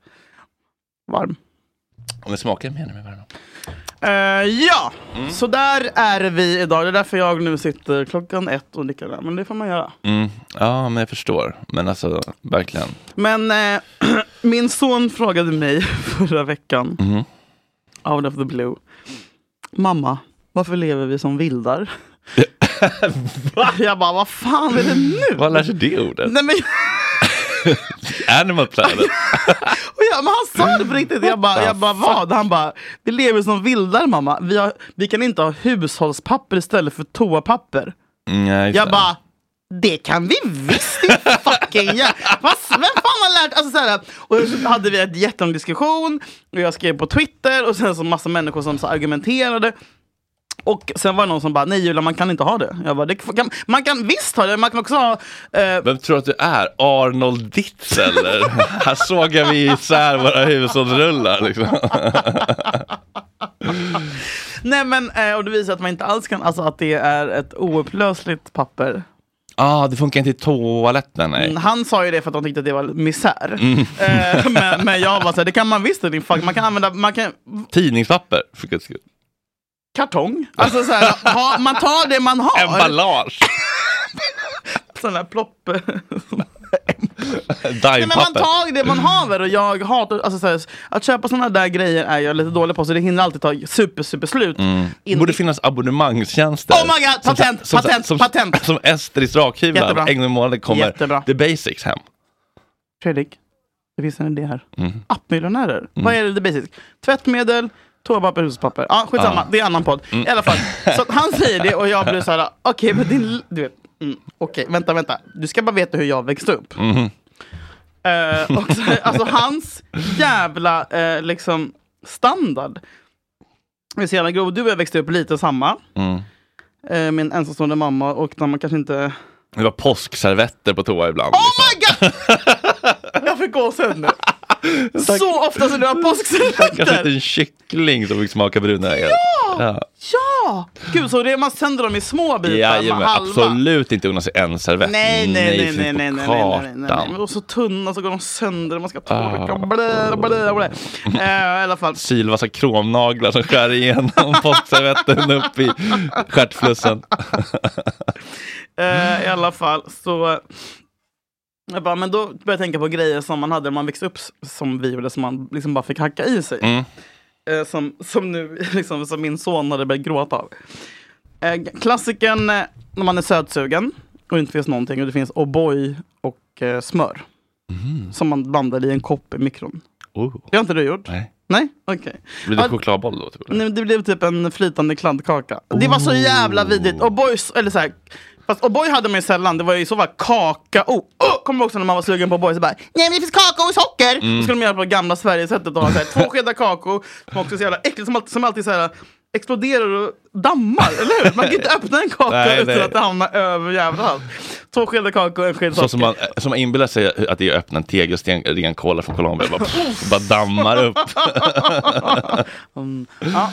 Varm.
Om det smakar menar med varandra.
Eh, ja, så där är vi idag. Det är därför jag nu sitter klockan ett och dricker det här. Men det får man göra.
Mm. Ja men jag förstår. Men alltså verkligen.
Men eh, min son frågade mig förra veckan,
Mhm.
out of the blue. Mamma, varför lever vi som vildar? jag bara, vad fan är det nu?
Vad lär sig det ordet?
Nej, men,
Animal planet.
och jag, men han sa det på riktigt. Jag bara, jag bara vad? Han bara, vi lever som vildar mamma. Vi, har, vi kan inte ha hushållspapper istället för toapapper.
Nej,
Jag bara, det kan vi visst din fucking ja. Vad Vem fan har lärt alltså, så här, Och så hade vi en jättelång diskussion och jag skrev på Twitter och sen så massa människor som så argumenterade. Och sen var det någon som bara, nej Julia man kan inte ha det. Jag bara, det kan, man kan visst ha det, man kan också ha... Eh,
Vem tror du att du är? Arnold Ditz eller? Här sågar vi isär våra hushållsrullar liksom.
nej men, eh, och det visar att man inte alls kan, alltså att det är ett oupplösligt papper.
Ah, det funkar inte i toaletten nej.
Mm, Han sa ju det för att de tyckte att det var misär. Eh, men, men jag var så här, det kan man visst din fuck, man kan använda, man kan,
Tidningspapper för guds skull.
kartong. Alltså så här, ha, man tar det man har.
Emballage.
Sån där plopp. Nej, men man
Dimepapper.
tar det man haver och jag hatar, alltså så här, att köpa såna där grejer är jag lite dålig på så det hinner alltid ta super super slut.
Det
In-
borde finnas abonnemangstjänster.
Oh my god, patent,
som,
patent,
som,
patent.
Som Ester i
Jättebra.
Strakhyvlan, en gång i månaden kommer
Jättebra.
the basics hem.
Fredrik, det finns en idé här. Appmiljonärer. Vad är det the basic? Tvättmedel, toapapper, hushållspapper. Ja, skitsamma, det är en annan podd. I alla fall. Så att han säger det och jag blir så här, okej men din... Du vet, mm, okej, vänta, vänta. Du ska bara veta hur jag växte upp. Eh, och så, alltså hans jävla eh, liksom standard. Det är så jävla grov. Du och jag växte upp lite samma.
Mm.
Eh, min ensamstående mamma och när man kanske inte...
Det var påskservetter på toa ibland. liksom.
Oh my god! Jag fick gåshud nu. Så ofta som det var
Kanske inte
påskservetter.
en kyckling som fick smaka brunögat.
Typ,
Ja!
Ja! Gud, så det, man sänder dem i små bitar,
Jajamän,
med halva.
absolut inte unna sig en servett.
Nej, nej, nej,
finns
nej, nej,
på
nej, nej, nej, nej, nej.
kartan.
Och så tunna så går de sönder, man ska torka.
Ah.
Blä, blä, blä. Eh, I alla fall.
Sylvassa kromnaglar som skär igenom påskservetten upp i stjärtflussen.
Eh, I
Mm.
alla fall så... Jag bara, men då började jag tänka på grejer som man hade när man växte upp s- som vi gjorde, som man liksom bara fick hacka i sig.
Mm.
Eh, som, som nu liksom, som min son hade börjat gråta av. Eh, klassiken eh, när man är sötsugen och inte finns någonting och det finns O'boy och eh, smör.
Mm.
Som man blandar i en kopp i mikron.
Oh.
Det har inte du gjort?
Nej.
Nej, okej.
Blir det
Ja,
chokladboll då? Typ, eller?
Nej, men det blev typ en flytande kladdkaka. Det var så jävla vidrigt. Och boys, eller så här, fast O'boy hade man ju sällan. Det var ju så var kakao. Oh, kommer du också när man var sugen på O'boy så bara Nej men det finns kakao och socker!
Mm.
Då skulle de göra på det gamla Sverigesättet. då, så här, Två skedar kakao som också är så jävla äckligt som alltid, som alltid så här, exploderar och dammar. Eller hur? Man kan inte öppna en kaka
Nej,
utan
nej.
att det hamnar över jävla allt. Två skedar kakao och en sked socker.
Så som man, som man inbillar sig att det är att öppna en tegelsten, ren cola från Colombia. Bara, pff, bara dammar upp.
Mm. Ja.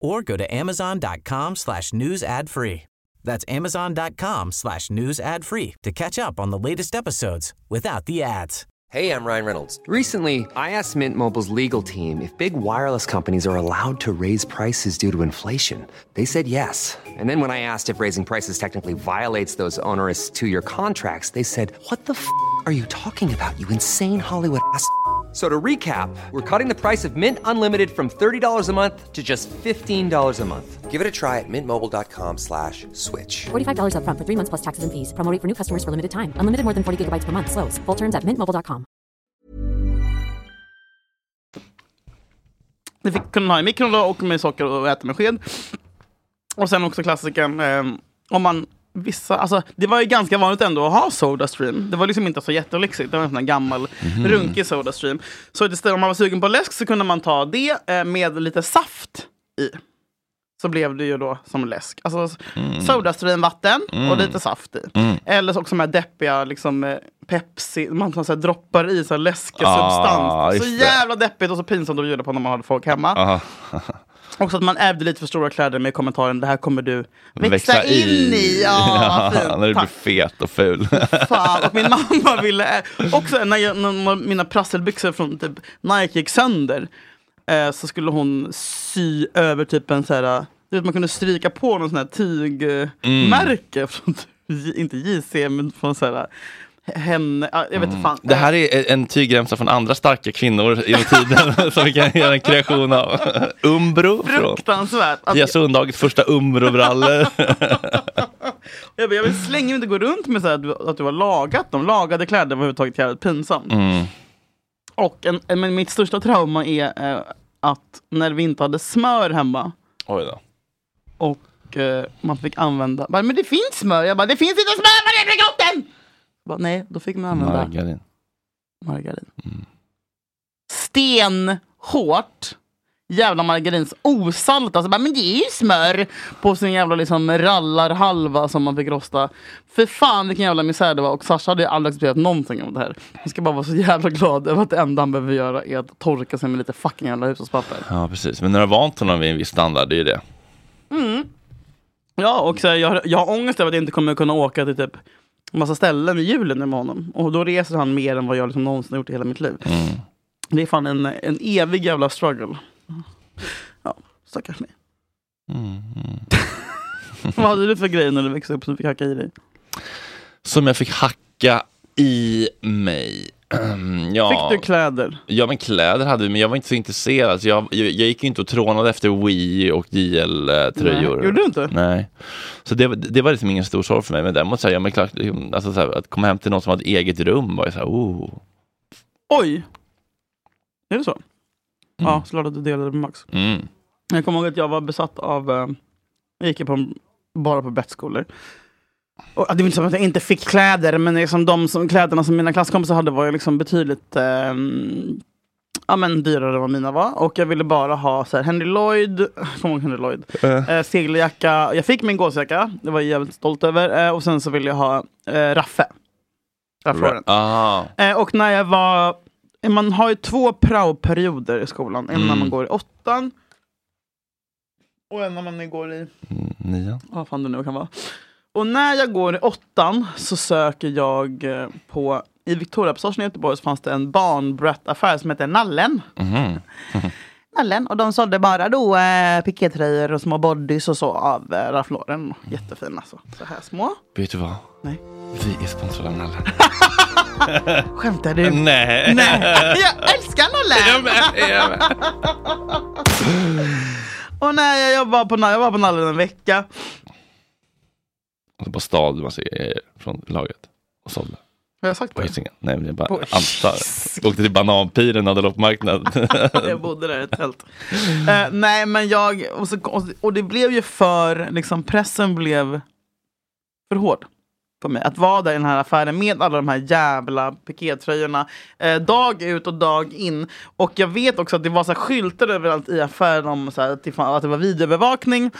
or go to amazon.com slash news ad free. That's amazon.com slash news ad free to catch up on the latest episodes without the ads.
Hey, I'm Ryan Reynolds. Recently, I asked Mint Mobile's legal team if big wireless companies are allowed to raise prices due to inflation. They said yes. And then when I asked if raising prices technically violates those onerous two year contracts, they said, What the f are you talking about, you insane Hollywood ass? f- a-" So to recap, we're cutting the price of Mint Unlimited from $30 a month to just $15 a month. Give it a try at mintmobile.com slash switch.
$45 upfront for three months plus taxes and fees. Promo rate for new customers for limited time. Unlimited more than 40 gigabytes per month. Slows. Full terms at mintmobile.com.
Det fick kunde ha i mikron då, och med socker och äta med sked. Och sen också klassikern, ehm, om man vissa, alltså det var ju ganska vanligt ändå att ha Sodastream. Det var liksom inte så jättelyxigt, det var en sån här gammal
Mhm.
runkig Sodastream. Så istället om man var sugen på läsk så kunde man ta det eh, med lite saft i. Så blev det ju då som läsk. Alltså
Mm.
Sodastream, vatten och
Mm.
lite saft i.
Mm.
Eller så också de här deppiga liksom, eh, Pepsi, man tar så här, droppar i så här läskig
Ah,
substans. Så
just det.
jävla deppigt och så pinsamt att bjuda på när man har folk hemma.
Aha.
Också att man ärvde lite för stora kläder med kommentaren det här kommer du växa, in i. Ja, vad
Ja,
fint.
när du blir
Tack.
fet och ful.
Fan, och min mamma ville... eh, Också när, jag, när mina prasselbyxor från typ Nike gick sönder eh, så skulle hon sy över typ en så här... Du vet, man kunde stryka på någon sån här tygmärke
Mm.
från, typ- inte JC, men från så här... Henne, ah, jag vet inte fan.
Mm. Det här är en tygremsa från andra starka kvinnor i tiden som vi kan göra en kreation av. Umbro från
Fruktansvärt. Att
Pia Sundhagens första Umbro-brallor.
Jag, bara, jag vill slänga mig inte gå runt med så här, att du- att du har lagat dem. Lagade kläder var överhuvudtaget jävligt pinsamt.
Mm.
Och en, en, men mitt största trauma är eh, att när vi inte hade smör hemma
Oj då.
och eh, man fick använda, bara, men det finns smör, jag bara det finns inte smör på Breggotten! Bara, Nej, då fick man använda
Margarin.
margarin. Stenhårt jävla margarins osalt. Alltså, bara, men det är ju smör på sin jävla liksom, rallarhalva som man fick rosta. För fan vilken jävla misär det var. Och Sasha hade ju aldrig accepterat någonting av det här. Han ska bara vara så jävla glad över att det enda han behöver göra är att torka sig med lite fucking jävla hushållspapper.
Ja, precis. Men när du har vant honom vid en viss standard, det är ju det.
Mm. Ja, och så här, jag, jag har ångest över att jag inte kommer kunna åka till typ massa ställen i julen med honom. Och då reser han mer än vad jag liksom någonsin har gjort i hela mitt liv. Det är fan en, en evig jävla struggle. Ja, stackars mig. Vad hade du för grejer när du växte upp som du fick hacka i dig?
Som jag fick hacka i mig. ja.
Fick du kläder?
Ja men kläder hade vi, men jag var inte så intresserad. Så jag, jag, jag gick ju inte och trånade efter Wii och eh, JL-tröjor.
Nej, gjorde du inte?
Nej. Så det, det var liksom ingen stor sorg för mig. Men däremot så här, ja, men klart, alltså, så här, att komma hem till någon som hade ett eget rum var ju så här, oh.
Oj! Är det så? Ja, såklart att du delade med Max.
Mm.
Jag kommer ihåg att jag var besatt av, eh, jag gick ju på, en- bara på bettskolor. Och, det var inte som att jag inte fick kläder, men liksom de som, kläderna som mina klasskompisar hade var ju liksom betydligt eh, ja, men dyrare än vad mina var. Och jag ville bara ha så här, Henry Lloyd, jag kommer ihåg Henry Lloyd, eh, segeljacka. Jag fick min gåsjacka, det var jag jävligt stolt över. Eh, och sen så ville jag ha eh, Raffe. Raffe
Ah.
Eh, och när jag var... Man har ju två praoperioder i skolan. En när
Mm.
man går i åttan. Och en när man går i...
Nian.
Vad fan det nu kan vara. Och när jag går i åttan så söker jag eh, på... I Victoriapassagen i Göteborg så fanns det en barnbrattaffär som hette Nallen.
Mhm.
Nallen. Och de sålde bara då eh, pikétröjor och små bodys och så av eh, Ralph Lauren. Jättefina så. Så här små.
Vet du vad?
Nej.
Vi är sponsrade av Nalle.
Skämtar du?
Nej.
Nej. Jag älskar Nallen!
Jag med, jag med.
Åh nej, jag jobbar på, na- jag var på nallen en vecka.
Och så bara stal man sig grejer från lagret och sålde.
Har jag sagt
På
det?
Hisingen. Nej, men jag
På
bara antar. Åkte till bananpiren och hade loppmarknad.
jag bodde där i ett tält. Eh, nej men jag, och, så, och, och det blev ju för, liksom pressen blev för hård. För mig. Att vara där i den här affären med alla de här jävla pikétröjorna. Eh, dag ut och dag in. Och jag vet också att det var så här skyltar överallt i affären om så här, att, det, fan- att det var videoövervakning.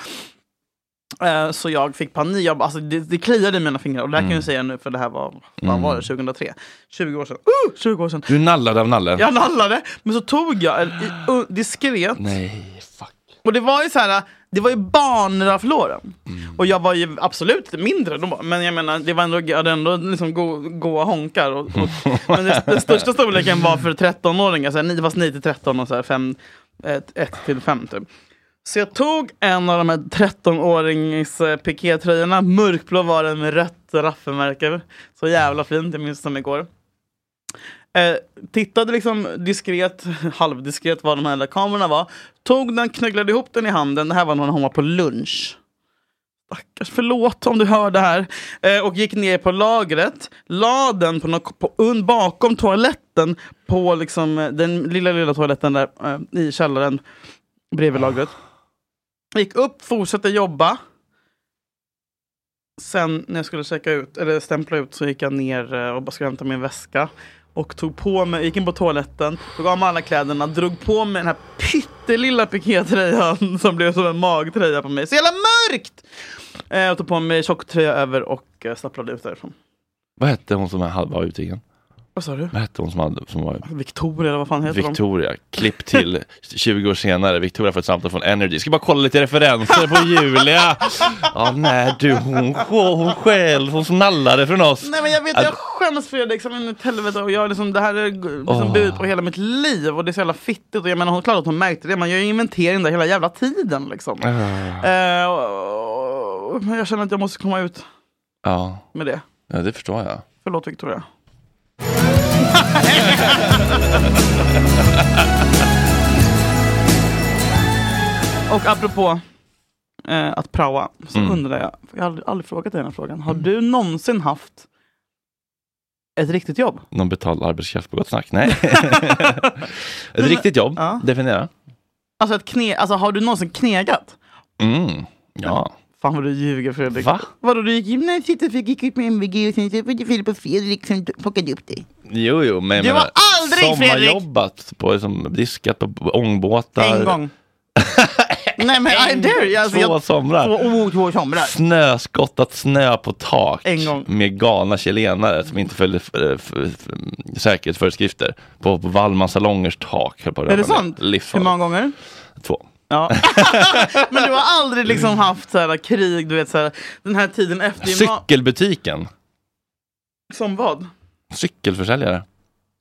Eh, Så jag fick panik, jag, bara- alltså, det, det kliade i mina fingrar. Och det här kan jag ju
Mm.
säga nu för det här var, vad
Mm.
var det, 2003? 20 år sedan. Uh, 20 år sedan.
Du nallade av nallen.
Jag nallade, men så tog jag en i- u- diskret.
Nej, fuck.
Och det var ju så här, det var ju barnraflåren. Och jag var ju absolut mindre då, men jag menar, det var ändå, jag hade ändå liksom go, goa honkar. Och, och, men det, den största storleken var för 13-åringar, så här, ni- fast 9 till 13 och så här, fem, ett, ett till 5 typ. Så jag tog en av de här 13-årings eh, pikétröjorna, mörkblå var den med rött raffelmärke. över. Så jävla fint, jag minns som igår. Eh, tittade liksom diskret, halvdiskret vad de här där kamerorna var. Tog den, knögglade ihop den i handen. Det här var när hon var på lunch. Stackars, förlåt om du hör det här. Eh, och gick ner på lagret. La den på något, på, un, bakom toaletten. På liksom eh, den lilla, lilla toaletten där eh, i källaren. Bredvid lagret. Gick upp, fortsatte jobba. Sen när jag skulle checka ut, eller stämpla ut, så gick jag ner eh, och bara skulle hämta min väska. Och tog på mig, gick in på toaletten, tog av mig alla kläderna, drog på mig den här pyttelilla pikétröjan som blev som en magtröja på mig. Så jävla mörkt! Eh, och tog på mig tjocktröja över och eh, stapplade ut därifrån.
Vad hette hon som hade- var utriken?
Vad sa du?
Vad hette hon som, hade, som var
Victoria eller vad fan heter de?
Victoria? Klipp till 20 år senare. Victoria får ett samtal från Energy. Ska bara kolla lite referenser på Julia. Ja, nej du, hon, hon själv. Hon som nallade från oss.
Nej men jag vet,
Att-
jag skäms Fredrik som in i ett helvete och jag liksom, det här är g- liksom
Åh.
burit på hela mitt liv och det är så jävla fittigt och jag menar hon klart att hon märkte det, man gör ju inventering där hela jävla tiden liksom.
Ah.
Eh, och- och- men jag känner att jag måste komma ut
Ja,
med det.
ja det förstår jag.
Förlåt Victoria. Och apropå eh, att praoa så
Mm.
undrar jag, för jag har aldrig, aldrig frågat dig den här frågan, har du någonsin haft ett riktigt jobb?
Någon betald arbetskraft på Gott Snack? Nej. ett riktigt jobb,
Ja.
definiera.
Alltså, ett kne, alltså har du någonsin knegat?
Mm. Ja.
Fan vad du ljuger Fredrik.
Va?
Vadå du gick gymnasiet och fick gick ut med MVG och sen så var det Filip och Fredrik som plockade upp dig.
Jo, jo, men jag
Du
menar,
var aldrig, Fredrik!
sommarjobbat på liksom, diskat på ångbåtar.
En gång. Nej men I dare you. Alltså,
Två somrar.
Två, oh, två somrar.
Snöskottat snö på tak
En gång.
med galna chilenare som inte följde f- f- f- säkerhetsföreskrifter på, på Wallmans salongers tak. höll på att
Är det
ramla ner.
sant? Hur
Livsfarligt.
många gånger?
Två.
Ja. men du har aldrig liksom haft så här, krig, du vet så här, den här tiden efter gymnasiet.
Cykelbutiken.
Som vad?
Cykelförsäljare.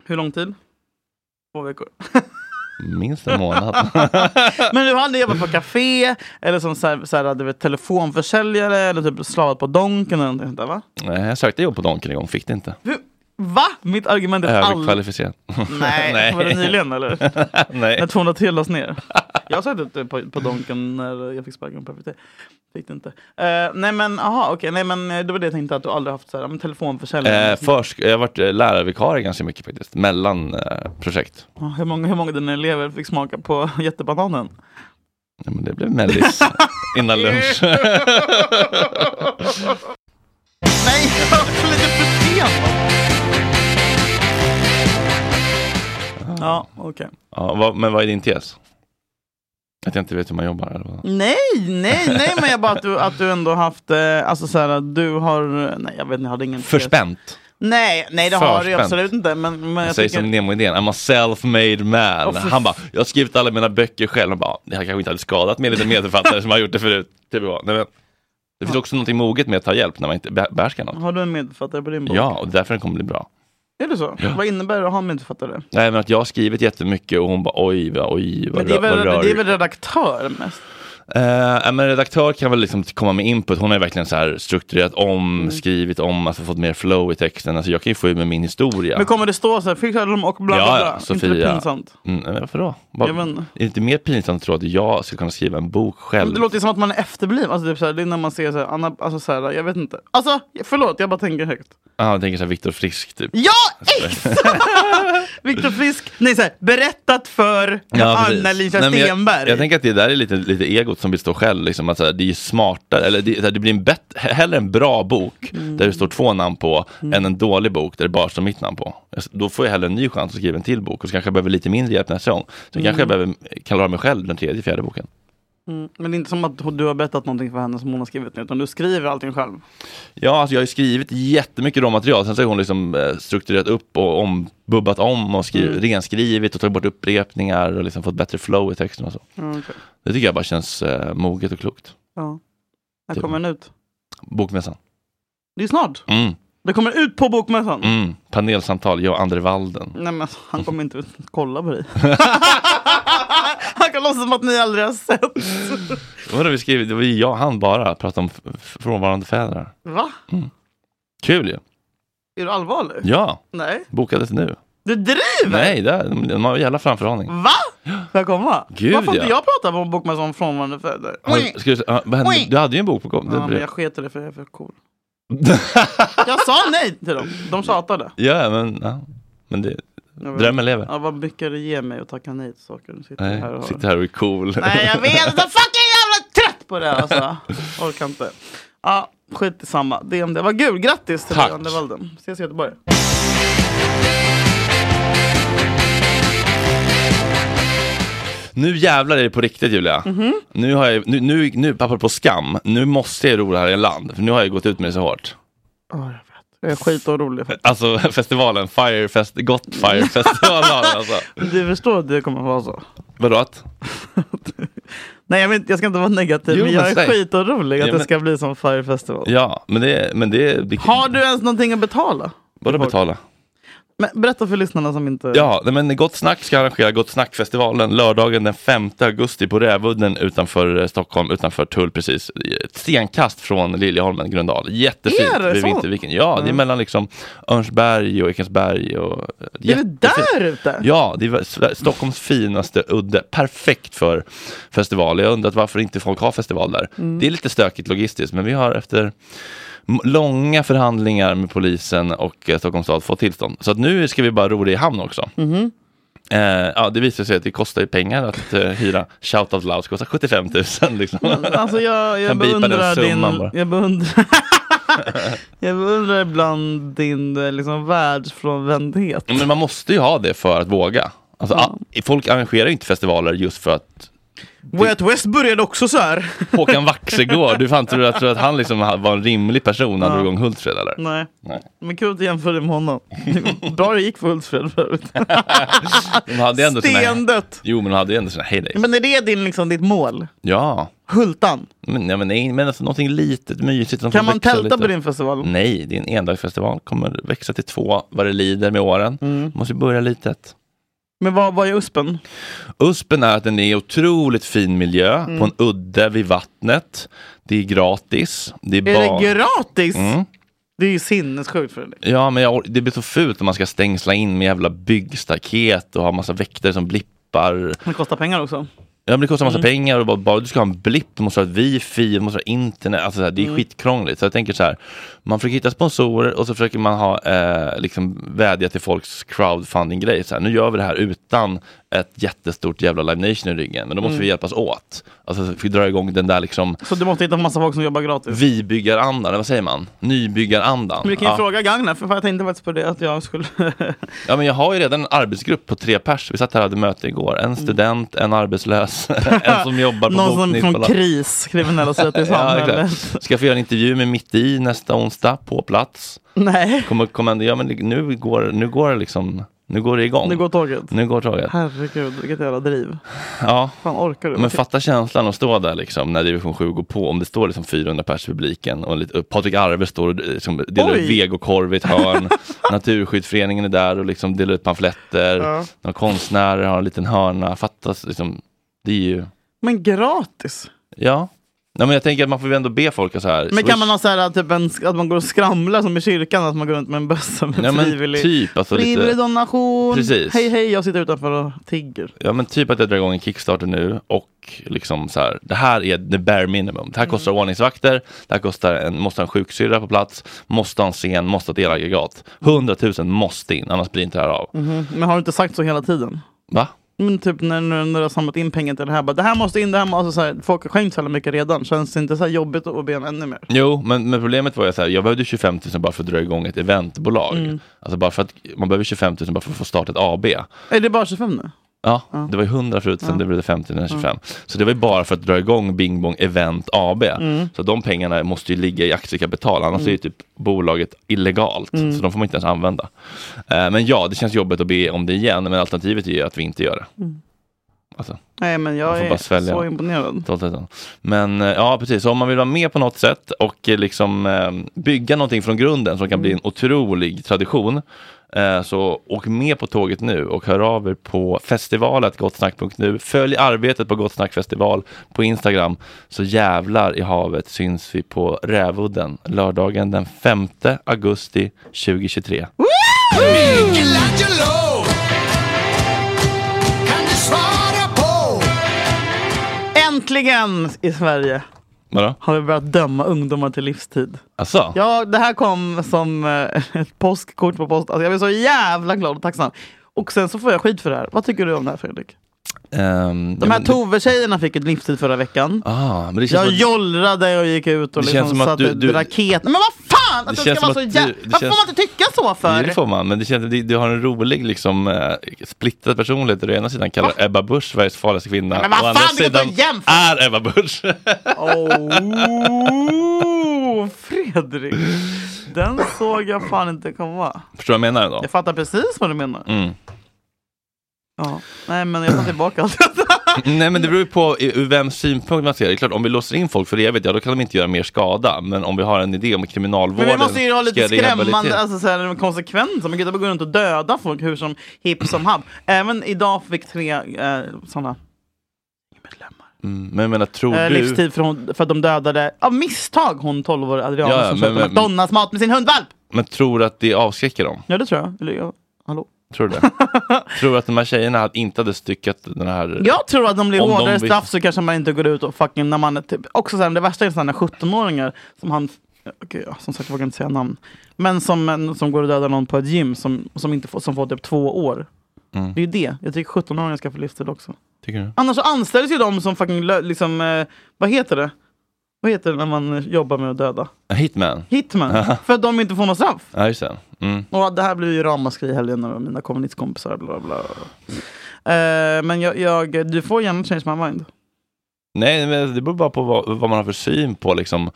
Hur lång tid? Två veckor.
Minst en månad.
Men du har aldrig jobbat på café eller som så här, så här, du vet, telefonförsäljare eller typ slavat på Donken eller någonting sånt där va?
Nej, jag sökte jobb på Donken en gång, fick det inte.
Hur? Va? Mitt argument är aldrig...
Överkvalificerad.
Nej, var det nyligen eller?
Nej.
När 203 lades ner. Jag satt ute på, på Donken när jag fick sparken på FVT. Fick det inte. Eh, nej men aha, okej, nej men eh, det var det jag tänkte att du aldrig haft så här, men telefonförsäljare.
Eh, försk- jag har varit eh, lärarvikarie ganska mycket faktiskt, mellan eh, projekt.
Ja, hur, många, hur många av dina elever fick smaka på jättebananen?
Ja, men det blev mellis innan lunch.
Nej, jag var lite för sent. Ja, okej.
ja, vad, men vad är din tes? Att jag inte vet hur man jobbar? Eller vad?
Nej, nej, nej, men jag bara att du, att du ändå haft, eh, alltså så här, att du har, nej jag vet inte, jag hade ingen
Förspänt.
Nej, nej det har du ju
Förspänt.
absolut inte. Men, men
Jag
jag
säger
tycker,
som Nemo-idén, I'm a self-made man.
Åh, för
Han bara, jag har skrivit alla mina böcker själv. Han bara, det här kanske inte hade skadat med en liten medförfattare som har gjort det förut. Typ, så. Nej, men, det finns också något moget med att ta hjälp när man inte beh- behärskar något.
har du en medförfattare på din bok?
Ja, och därför den kommer bli bra.
Är det så?
Ja.
Vad innebär det att ha en medförfattare?
Nej, men att jag har skrivit jättemycket och hon bara, oj, vad, oj, vad,
Men det är
rö- vad
väl,
rör
det är väl redaktör mest?
Eh, men redaktör kan väl liksom komma med input. Hon har ju verkligen så här strukturerat om,
Mm.
skrivit om, alltså fått mer flow i texten. Alltså jag kan ju få ut med min historia.
Men kommer det stå så här, Fredrik Söderholm och bla bla
ja,
bla?
ja, Sofia.
Inte det pinsamt?
Mm, men varför då? Bara,
Jag vet-
är det inte mer pinsamt att tro att jag ska kunna skriva en bok själv?
Det låter ju som att man är efterbliven. Alltså, typ så här, det är när man ser så här, Anna, alltså så här, jag vet inte. Alltså, förlåt, jag bara tänker högt.
Ja, jag tänker så här Viktor Frisk typ.
Ja, exakt! Viktor Frisk, nej så här, berättat för
precis.
Anna Lisa
Nej, men
Stenberg.
Jag, jag tänker att det där är lite, lite egot som vill stå själv. Liksom, att, så här, det är ju smartare, eller det, så här, det blir en bett, hellre en bra bok
Mm.
där det står två namn på
Mm.
än en dålig bok där det bara står mitt namn på. Alltså, Då får jag hellre en ny chans att skriva en till bok och så kanske jag behöver lite mindre hjälp nästa gång. Så
Mm.
kanske jag behöver, kan klara mig själv den tredje, fjärde boken.
Mm, men det är inte som att du har berättat någonting för henne som hon har skrivit nu, utan du skriver allting själv.
Ja, alltså jag har ju skrivit jättemycket råmaterial. Sen så har hon liksom eh, strukturerat upp och om, bubbat om och skrivit,
Mm.
renskrivit och tagit bort upprepningar och liksom fått bättre flow i texten och så.
Ja, Mm, okej.
Det tycker jag bara känns eh, moget och klokt.
Ja. När
Typ.
kommer den ut?
Bokmässan.
Det är snart.
Mm.
Det kommer ut på Bokmässan.
Mm. Panelsamtal, jag och Andre Walden.
Nej men alltså, han kommer inte ut- kolla på dig. han kan låtsas som att ni aldrig har sett.
Vadå, vi skrev, det var ju jag och han bara, pratade om f- f- frånvarande fäder.
Va?
Kul ju!
Är du allvarlig?
Ja!
Nej.
Bokades nu.
Du driver?
Nej, det, de, de har jävla framförhållning.
Va? Får jag komma?
Gud,
Varför inte
ja.
jag pratar om Bokmässan om frånvarande fäder?
Har- Ska du, ja, vad hände? du hade ju en bok på gång.
Ja, men
Det-
jag sket i det för jag är för cool. jag sa nej till dem. De tjatade.
Ja, men, ja. men det,
Jag vet.
drömmen lever.
Ja, vad mycket det ger mig att tacka nej till saker. Nu Sitter jag
Nej,
här och
sitter här och är cool.
Nej, jag vet. Jag är så fucking jävla trött på det här, alltså. Orkar inte. Ja, skit i samma. Det om det. Vad kul. Grattis till
Tack.
dig, Andervalden. Ses i Göteborg.
Nu jävlar är det på riktigt Julia.
Mhm.
Nu har jag, nu, nu, nu apropå skam, nu måste jag ro det här i land. För nu har jag gått ut med det så hårt.
Jag är skitorolig.
Alltså festivalen, Firefest, Gottfire festivalen alltså.
Du förstår att det kommer vara så?
Vadå att?
Nej, jag, vet, jag ska inte vara negativ,
Jo,
men jag
men
är
säg.
skitorolig att
Ja,
det
men-
ska bli som Fire Festival.
Ja, men det, men det, det
Har du ens någonting att betala?
vadå betala?
Men berätta för lyssnarna som inte...
Ja, nej, men Gott Snack ska arrangera Gott Snack-festivalen lördagen den 5 augusti på Rävudden utanför eh, Stockholm, utanför Tull precis. Ett stenkast från Liljeholmen, Gröndal. Jättefint
Är det
vid
så?
Vinterviken. Ja, det är
Mm.
mellan liksom Örnsberg och Ekensberg. Och,
Är det där ute?
Ja, det är väl Sve- Stockholms finaste udde. Perfekt för festival. Jag har undrat varför inte folk har festival där.
Mm.
Det är lite stökigt logistiskt, men vi har efter m- långa förhandlingar med polisen och eh, Stockholms stad fått tillstånd. Så att nu ska vi bara ro det i hamn också.
Mhm.
Eh, ja, det visar sig att det kostar ju pengar att eh, hyra Shout Out Loud. kostar 75 000 liksom.
Alltså jag, jag
Kan bipa den
beundrar
summan
din...
bara.
Jag beundrar, jag beundrar ibland din eh, liksom, världsfrånvändhet.
Men man måste ju ha det för att våga. Alltså, a- Folk arrangerar ju inte festivaler just för att
Way Out West började också så här.
Håkan Vaxegård, du fan tror, jag tror att han liksom ha- var en rimlig person när han
Ja. Mm.
drog igång Hultsfred eller?
Nej.
Nej.
Men kul att du jämför dig med honom. Bra det gick för Hultsfred förut.
De hade ju ändå
Stendött.
Sina, jo, men de hade ju ändå sina heydays.
Men är det din, liksom, ditt mål?
Ja.
Hultan?
Men, ja, men, nej, men alltså, någonting litet, mysigt. som
Kan
får
man
växa
tälta
lite. Mm.
på din festival?
Nej, det är en endagsfestival. Kommer växa till två vad det lider med åren.
Mm.
Måste ju börja litet.
Men vad, vad är USPen?
USPen är att den är otroligt fin miljö
Mm.
på en udde vid vattnet. Det är gratis. Det är,
Är
bar-
det gratis?
Mm.
Det är ju sinnessjukt Fredrik.
Ja, men jag, or- det blir så fult om man ska stängsla in med jävla byggstaket och ha massa väktare som blippar.
Men det kostar pengar också.
Ja, men det kostar massa
Mm.
pengar och bara, bara du ska ha en blipp, du måste ha ett wifi, du måste ha internet, alltså så här, det är
Mm.
skitkrångligt. Så jag tänker så här, man försöker hitta sponsorer och så försöker man ha, eh, liksom vädja till folks crowdfunding-grej. Så här, nu gör vi det här utan ett jättestort jävla Live Nation i ryggen, men då måste
Mm.
vi hjälpas åt. Alltså, så vi drar igång den där liksom,
Så du måste hitta en massa folk som jobbar gratis.
vi bygger andan, eller vad säger man? Nybyggarandan.
Men vi kan ju
Ja.
fråga Gagnef, för jag tänkte faktiskt på det att jag skulle...
Ja, men jag har ju redan en arbetsgrupp på tre pers. Vi satt här och hade möte igår. En student, en arbetslös, en som jobbar på
Mm. Någon som från
bokningsbolag.
KRIS, kriminella sätt i samhället.
exakt. Ska få göra en intervju med Mitt i nästa onsdag på plats.
Nej.
Kommer, kommer ändå, ja, men det- nu går, nu går det liksom, nu går det igång.
Nu går tåget.
Nu går tåget.
Herregud, vilket jävla driv.
Ja.
Fan orkar du?
Men fatta känslan att stå där liksom, när division 7 går på, om det står liksom 400 pers i publiken och lite, och Patrik Arve står och liksom, delar ut
Oj.
vegokorv i ett hörn, Naturskyddsföreningen är där och liksom delar ut pamfletter,
Ja.
några konstnärer har en liten hörna, fattas liksom, det är ju
Men gratis?
Ja. Nej, men jag tänker att man får ju ändå be folk att så här.
Men kan man ha så här, typ en, att man går och skramlar som i kyrkan, att man går runt med en bössa med
Ja, men
frivillig,
typ, alltså lite-
frivillig donation?
Precis.
Hej hej, jag sitter utanför och tigger.
Ja men typ att jag drar igång en Kickstarter nu och liksom så här, det här är the bare minimum. Det här kostar ordningsvakter, det här kostar en, måste ha en sjuksyrra på plats, måste ha en scen, måste ha ett elaggregat. 100 000 måste in, annars blir inte det här av.
Mhm. Men har du inte sagt så hela tiden?
Va?
Men typ när, när, när du har samlat in pengar till det här, bara, det här måste in, det här måste, alltså, så här, folk har skänkt så jävla mycket redan, känns det inte så här jobbigt att be om ännu mer?
Jo, men, men problemet var ju så här, jag behövde 25 000 bara för att dra igång ett eventbolag.
Mm.
Alltså bara för att man behöver 25 000 bara för att få starta ett AB.
Är det bara 25 nu?
Ja, det var ju 100 förut, sen
Ja.
det blev det 50 när 25.
Ja.
Så det var ju bara för att dra igång Bing Bong Event AB.
Mm.
Så de pengarna måste ju ligga i aktiekapital, annars
Mm.
är ju typ bolaget illegalt.
Mm.
Så de får man inte ens använda. Eh, men ja, det känns jobbigt att be om det igen, men alternativet är ju att vi inte gör det.
Mm.
Alltså,
Nej men jag
Man får
är
bara svälja.
så imponerad.
12 000. Men eh, ja, precis. Så om man vill vara med på något sätt och eh, liksom eh, bygga någonting från grunden som kan bli en
Mm.
otrolig tradition, eh, så åk med på tåget nu och hör av er på festivalet gottsnack.nu. Följ arbetet på Gott Snack Festival på Instagram, så jävlar i havet syns vi på Rävudden lördagen den 5 augusti 2023.
Michelangelo! Kan du svara på?
Äntligen i Sverige
Vadå?
har vi börjat döma ungdomar till livstid.
Asså?
Ja, det här kom som eh, ett påskkort på posten. Alltså, jag blev så jävla glad och tacksam. Och sen så får jag skit för det här. Vad tycker du om det här Fredrik?
Ehm,
De
ja,
här
men-
Tove-tjejerna fick ett livstid förra veckan.
Ah, men det känns
Jag
som att-
jollrade och gick ut och
Det
liksom
känns som att
satte
du- du-
raket. Men vad fan! Att
Det
det
känns
ska vara så
som att
jävla...
du- det
Varför
känns-
får man inte tycka så för?
Jo, det får man, men det känns, du, du har en rolig liksom, eh, splittrad personlighet. där Du å ena sidan kallar Ebba Busch Sveriges farligaste kvinna.
Men vad
å
fan,
andra
det går inte
sidan
att jämföra!
är Ebba Busch.
Oh, Fredrik! Den såg jag fan inte komma.
Förstår du vad jag menar då?
Jag fattar precis vad du menar.
Mm.
Ja. Nej men jag tar tillbaka allt.
Nej men det beror ju på i- ur vems synpunkt man ser det. det. är klart, om vi låser in folk för evigt, ja då kan de inte göra mer skada. Men om vi har en idé om att kriminalvården
Men vi måste ju ha
ska
lite
rehabilitera-
skrämmande alltså, så här, konsekvenser. Man kan inte bara gå runt och döda folk hur som hipp som happ. Även idag fick tre eh, sådana
Mm, men jag menar, tror
eh,
du...
livstid för, hon, för att de dödade av misstag hon 12-åriga Adriana
Ja, ja,
som
men-
köpte
men-
McDonalds mat med sin hundvalp.
Men tror du att det avskräcker dem?
Ja det tror jag. Eller, ja. Hallå?
Tror du det? tror du att de här tjejerna hade- inte hade styckat den här...
Jag tror att om det blir
Om de
hårdare
vill-
straff så kanske man inte går ut och fucking när man är typ, också såhär, det värsta är sådana 17-åringar som han, okej, ja, som sagt jag vågar inte säga namn, men som, en- som går och dödar någon på ett gym som, som, inte får, som får typ två år.
Mm.
Det är ju det, jag tycker 17-åringar ska få livstid också.
Tycker du?
Annars så anställs ju de som fucking, lö- liksom, eh, vad heter det? Vad heter det när man eh, jobbar med att döda?
Hitman?
Hitman, för att de inte får något straff.
Ja, just det. Mm.
Och det här blev ju ramaskri i helgen av mina kommunistkompisar. Bla bla. Eh, men jag, jag, du får gärna change my mind.
Nej, men det beror bara på vad, vad man har för syn på liksom.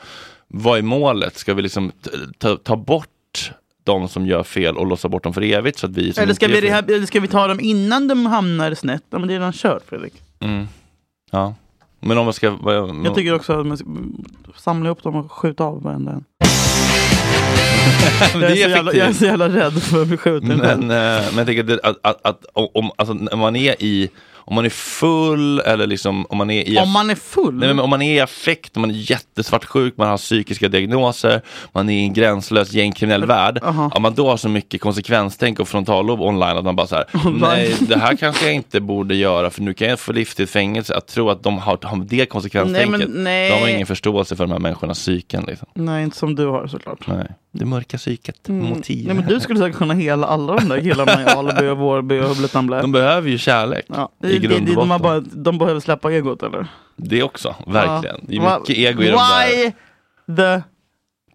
Vad är målet? Ska vi liksom t- ta, ta bort de som gör fel och låsa bort dem för evigt? Så att vi som
Eller ska
inte
vi,
gör fel-
rehab- eller ska vi ta dem innan de hamnar snett? Ja, men det är redan kört Fredrik.
Mm. Ja. Men om man ska... vad jag-
Jag tycker också att man ska samla ihop dem och skjuta av varenda en.
det
Jag är, så
är
jävla, jag är
effektivt.
så jävla rädd för att bli skjuten.
Men,
själv.
eh, men jag tänker att, det- att, att, att om, alltså, när man är i... Om man är full eller liksom om man är i...
Om man är full?
Nej, men om man är i affekt, om man är jättesvartsjuk, man har psykiska diagnoser, man är i en gränslös gängkriminell värld.
Aha.
Om man då har så mycket konsekvenstänk och frontallob online att man bara så här,
Online.
nej det här kanske jag inte borde göra för nu kan jag få livstids fängelse. Att tro att de har, har det konsekvenstänket,
Nej, men nej.
de har ingen förståelse för de här människornas psyken. Liksom.
Nej, inte som du har såklart.
Nej. Det mörka psyket, motiv.
Mm. Nej, men du skulle säkert kunna hela alla de där killarna i Alby och Vårby och Hubbletamble.
De behöver ju kärlek
Ja, det,
i
det,
grund
det,
och
de, har
botten.
bara, de behöver släppa egot eller?
Det också, verkligen. Det är
Ja.
mycket ego i de där.
Why the...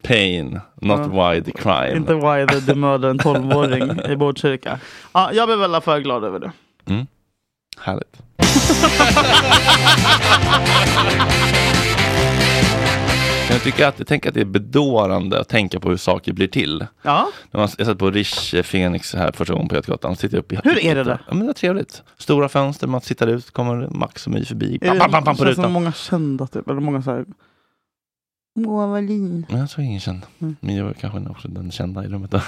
Pain, not
Ja.
why the crime.
Inte why the, the mördar en 12-åring i Botkyrka. Ja, jag blev i alla fall glad över det.
Mm. Härligt. Kan jag tycka att, jag tänker att det är bedårande att tänka på hur saker blir till.
Ja.
När man, jag satt på Rish eh, Phoenix här första gången på Götgatan. Sitter upp i,
Hur är det där?
Ja, men det är trevligt. Stora fönster, man tittar ut, kommer Max och My förbi.
Är
Bam,
Eh, det-
bam, bam, bam, på
känns som
rutan.
många kända typ, eller många så här
Moa Wallin.
Men jag tror ingen känd.
Mm.
Men jag var kanske också den kända i rummet. då.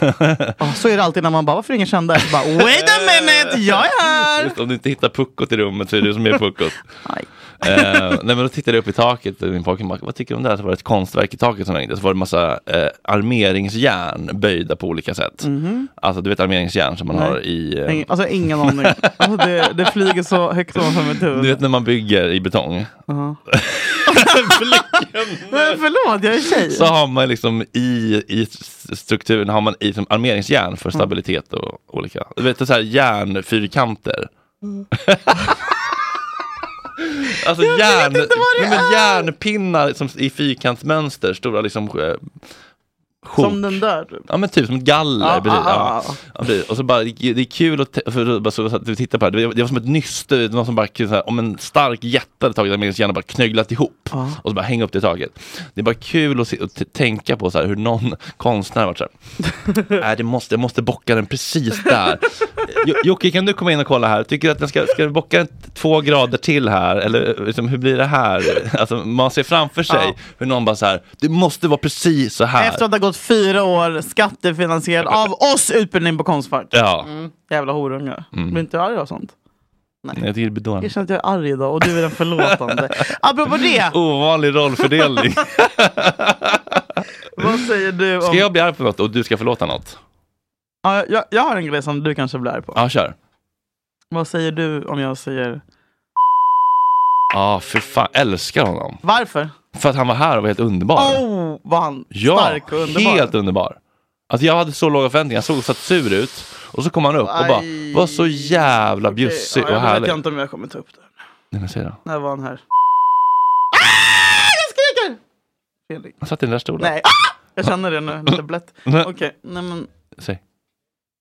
Ja, så är det alltid när man bara, varför är ingen känd där? Så bara, wait a minute, jag är här!
Eh. Just om du inte hittar puckot i rummet så är det du som är puckot. Eh, nej men då tittade jag upp i taket och min pojke bara, vad tycker du om det här? Så var det ett konstverk i taket som hängde. Så var det massa eh, armeringsjärn böjda på olika sätt.
Mhm.
Alltså du vet armeringsjärn som man
Nej.
har i... eh,
Ingen- Alltså ingen aning. Alltså, det, det flyger så högt ovanför mitt huvud.
du vet när man bygger i betong.
Ja. Men förlåt, jag är tjej.
Så har man liksom i, i strukturen har man i som armeringsjärn för stabilitet och olika. Du vet så här järnfyrkanter. Alltså järn, nej, men järnpinnar som i fyrkantsmönster, stora liksom eh, sjok.
Som den där. typ.
Ja men typ som ett galler.
Ja,
precis.
ja,
Ja,
ja.
ja, precis. Och så bara, det är kul att, te- för, bara så, så att du tittar på det här. Det var- det var som ett nyste, det var någon som bara, kunde så här, om en stark jätte hade tagit arméns hjärna och bara knögglat ihop. Och så bara hänga upp det i taget. Det är bara kul att, se, att t- tänka på så här, hur någon konstnär har varit så här. Nej, det måste, jag måste bocka den precis där. Jo- Jocke, kan du komma in och kolla här? Tycker du att den ska, ska vi bocka den t- två grader till här? Eller eh, liksom, hur blir det här? Alltså, man ser framför sig
Ja.
hur någon bara så här, det måste vara precis så här.
Efter att ha gått fyra år skattefinansierad av oss utbildning på Konstfack.
Ja.
Mm. Jävla horungar.
Mm.
Blir inte du arg av sånt? Nej.
Jag tycker det blir dåligt.
Jag känner att jag är arg idag och du är den förlåtande. Apropå det,
Oh. Ovanlig rollfördelning.
vad säger du om...
Ska jag bli arg på något och du ska förlåta något?
Ja, jag, jag har en grej som du kanske blir arg på.
Ja, kör.
Vad säger du om jag säger...
Ja, för fan. Älskar honom.
Varför?
För att han var här och var helt underbar.
Oh, vad han
ja,
stark och underbar.
helt underbar. Alltså jag hade så låga förväntningar. Jag såg så sur ut. Och så kom han upp och bara var så jävla bjussig
ja,
och
jag vet
härlig.
jag inte om jag kommer ta upp det.
Nej, men säg då.
När var han här? Ah, jag skriker! Felix.
Han satt i den där stolen.
Nej, ah! jag känner det nu. Lite blött. Okej,
Nej.
nej men...
Säg.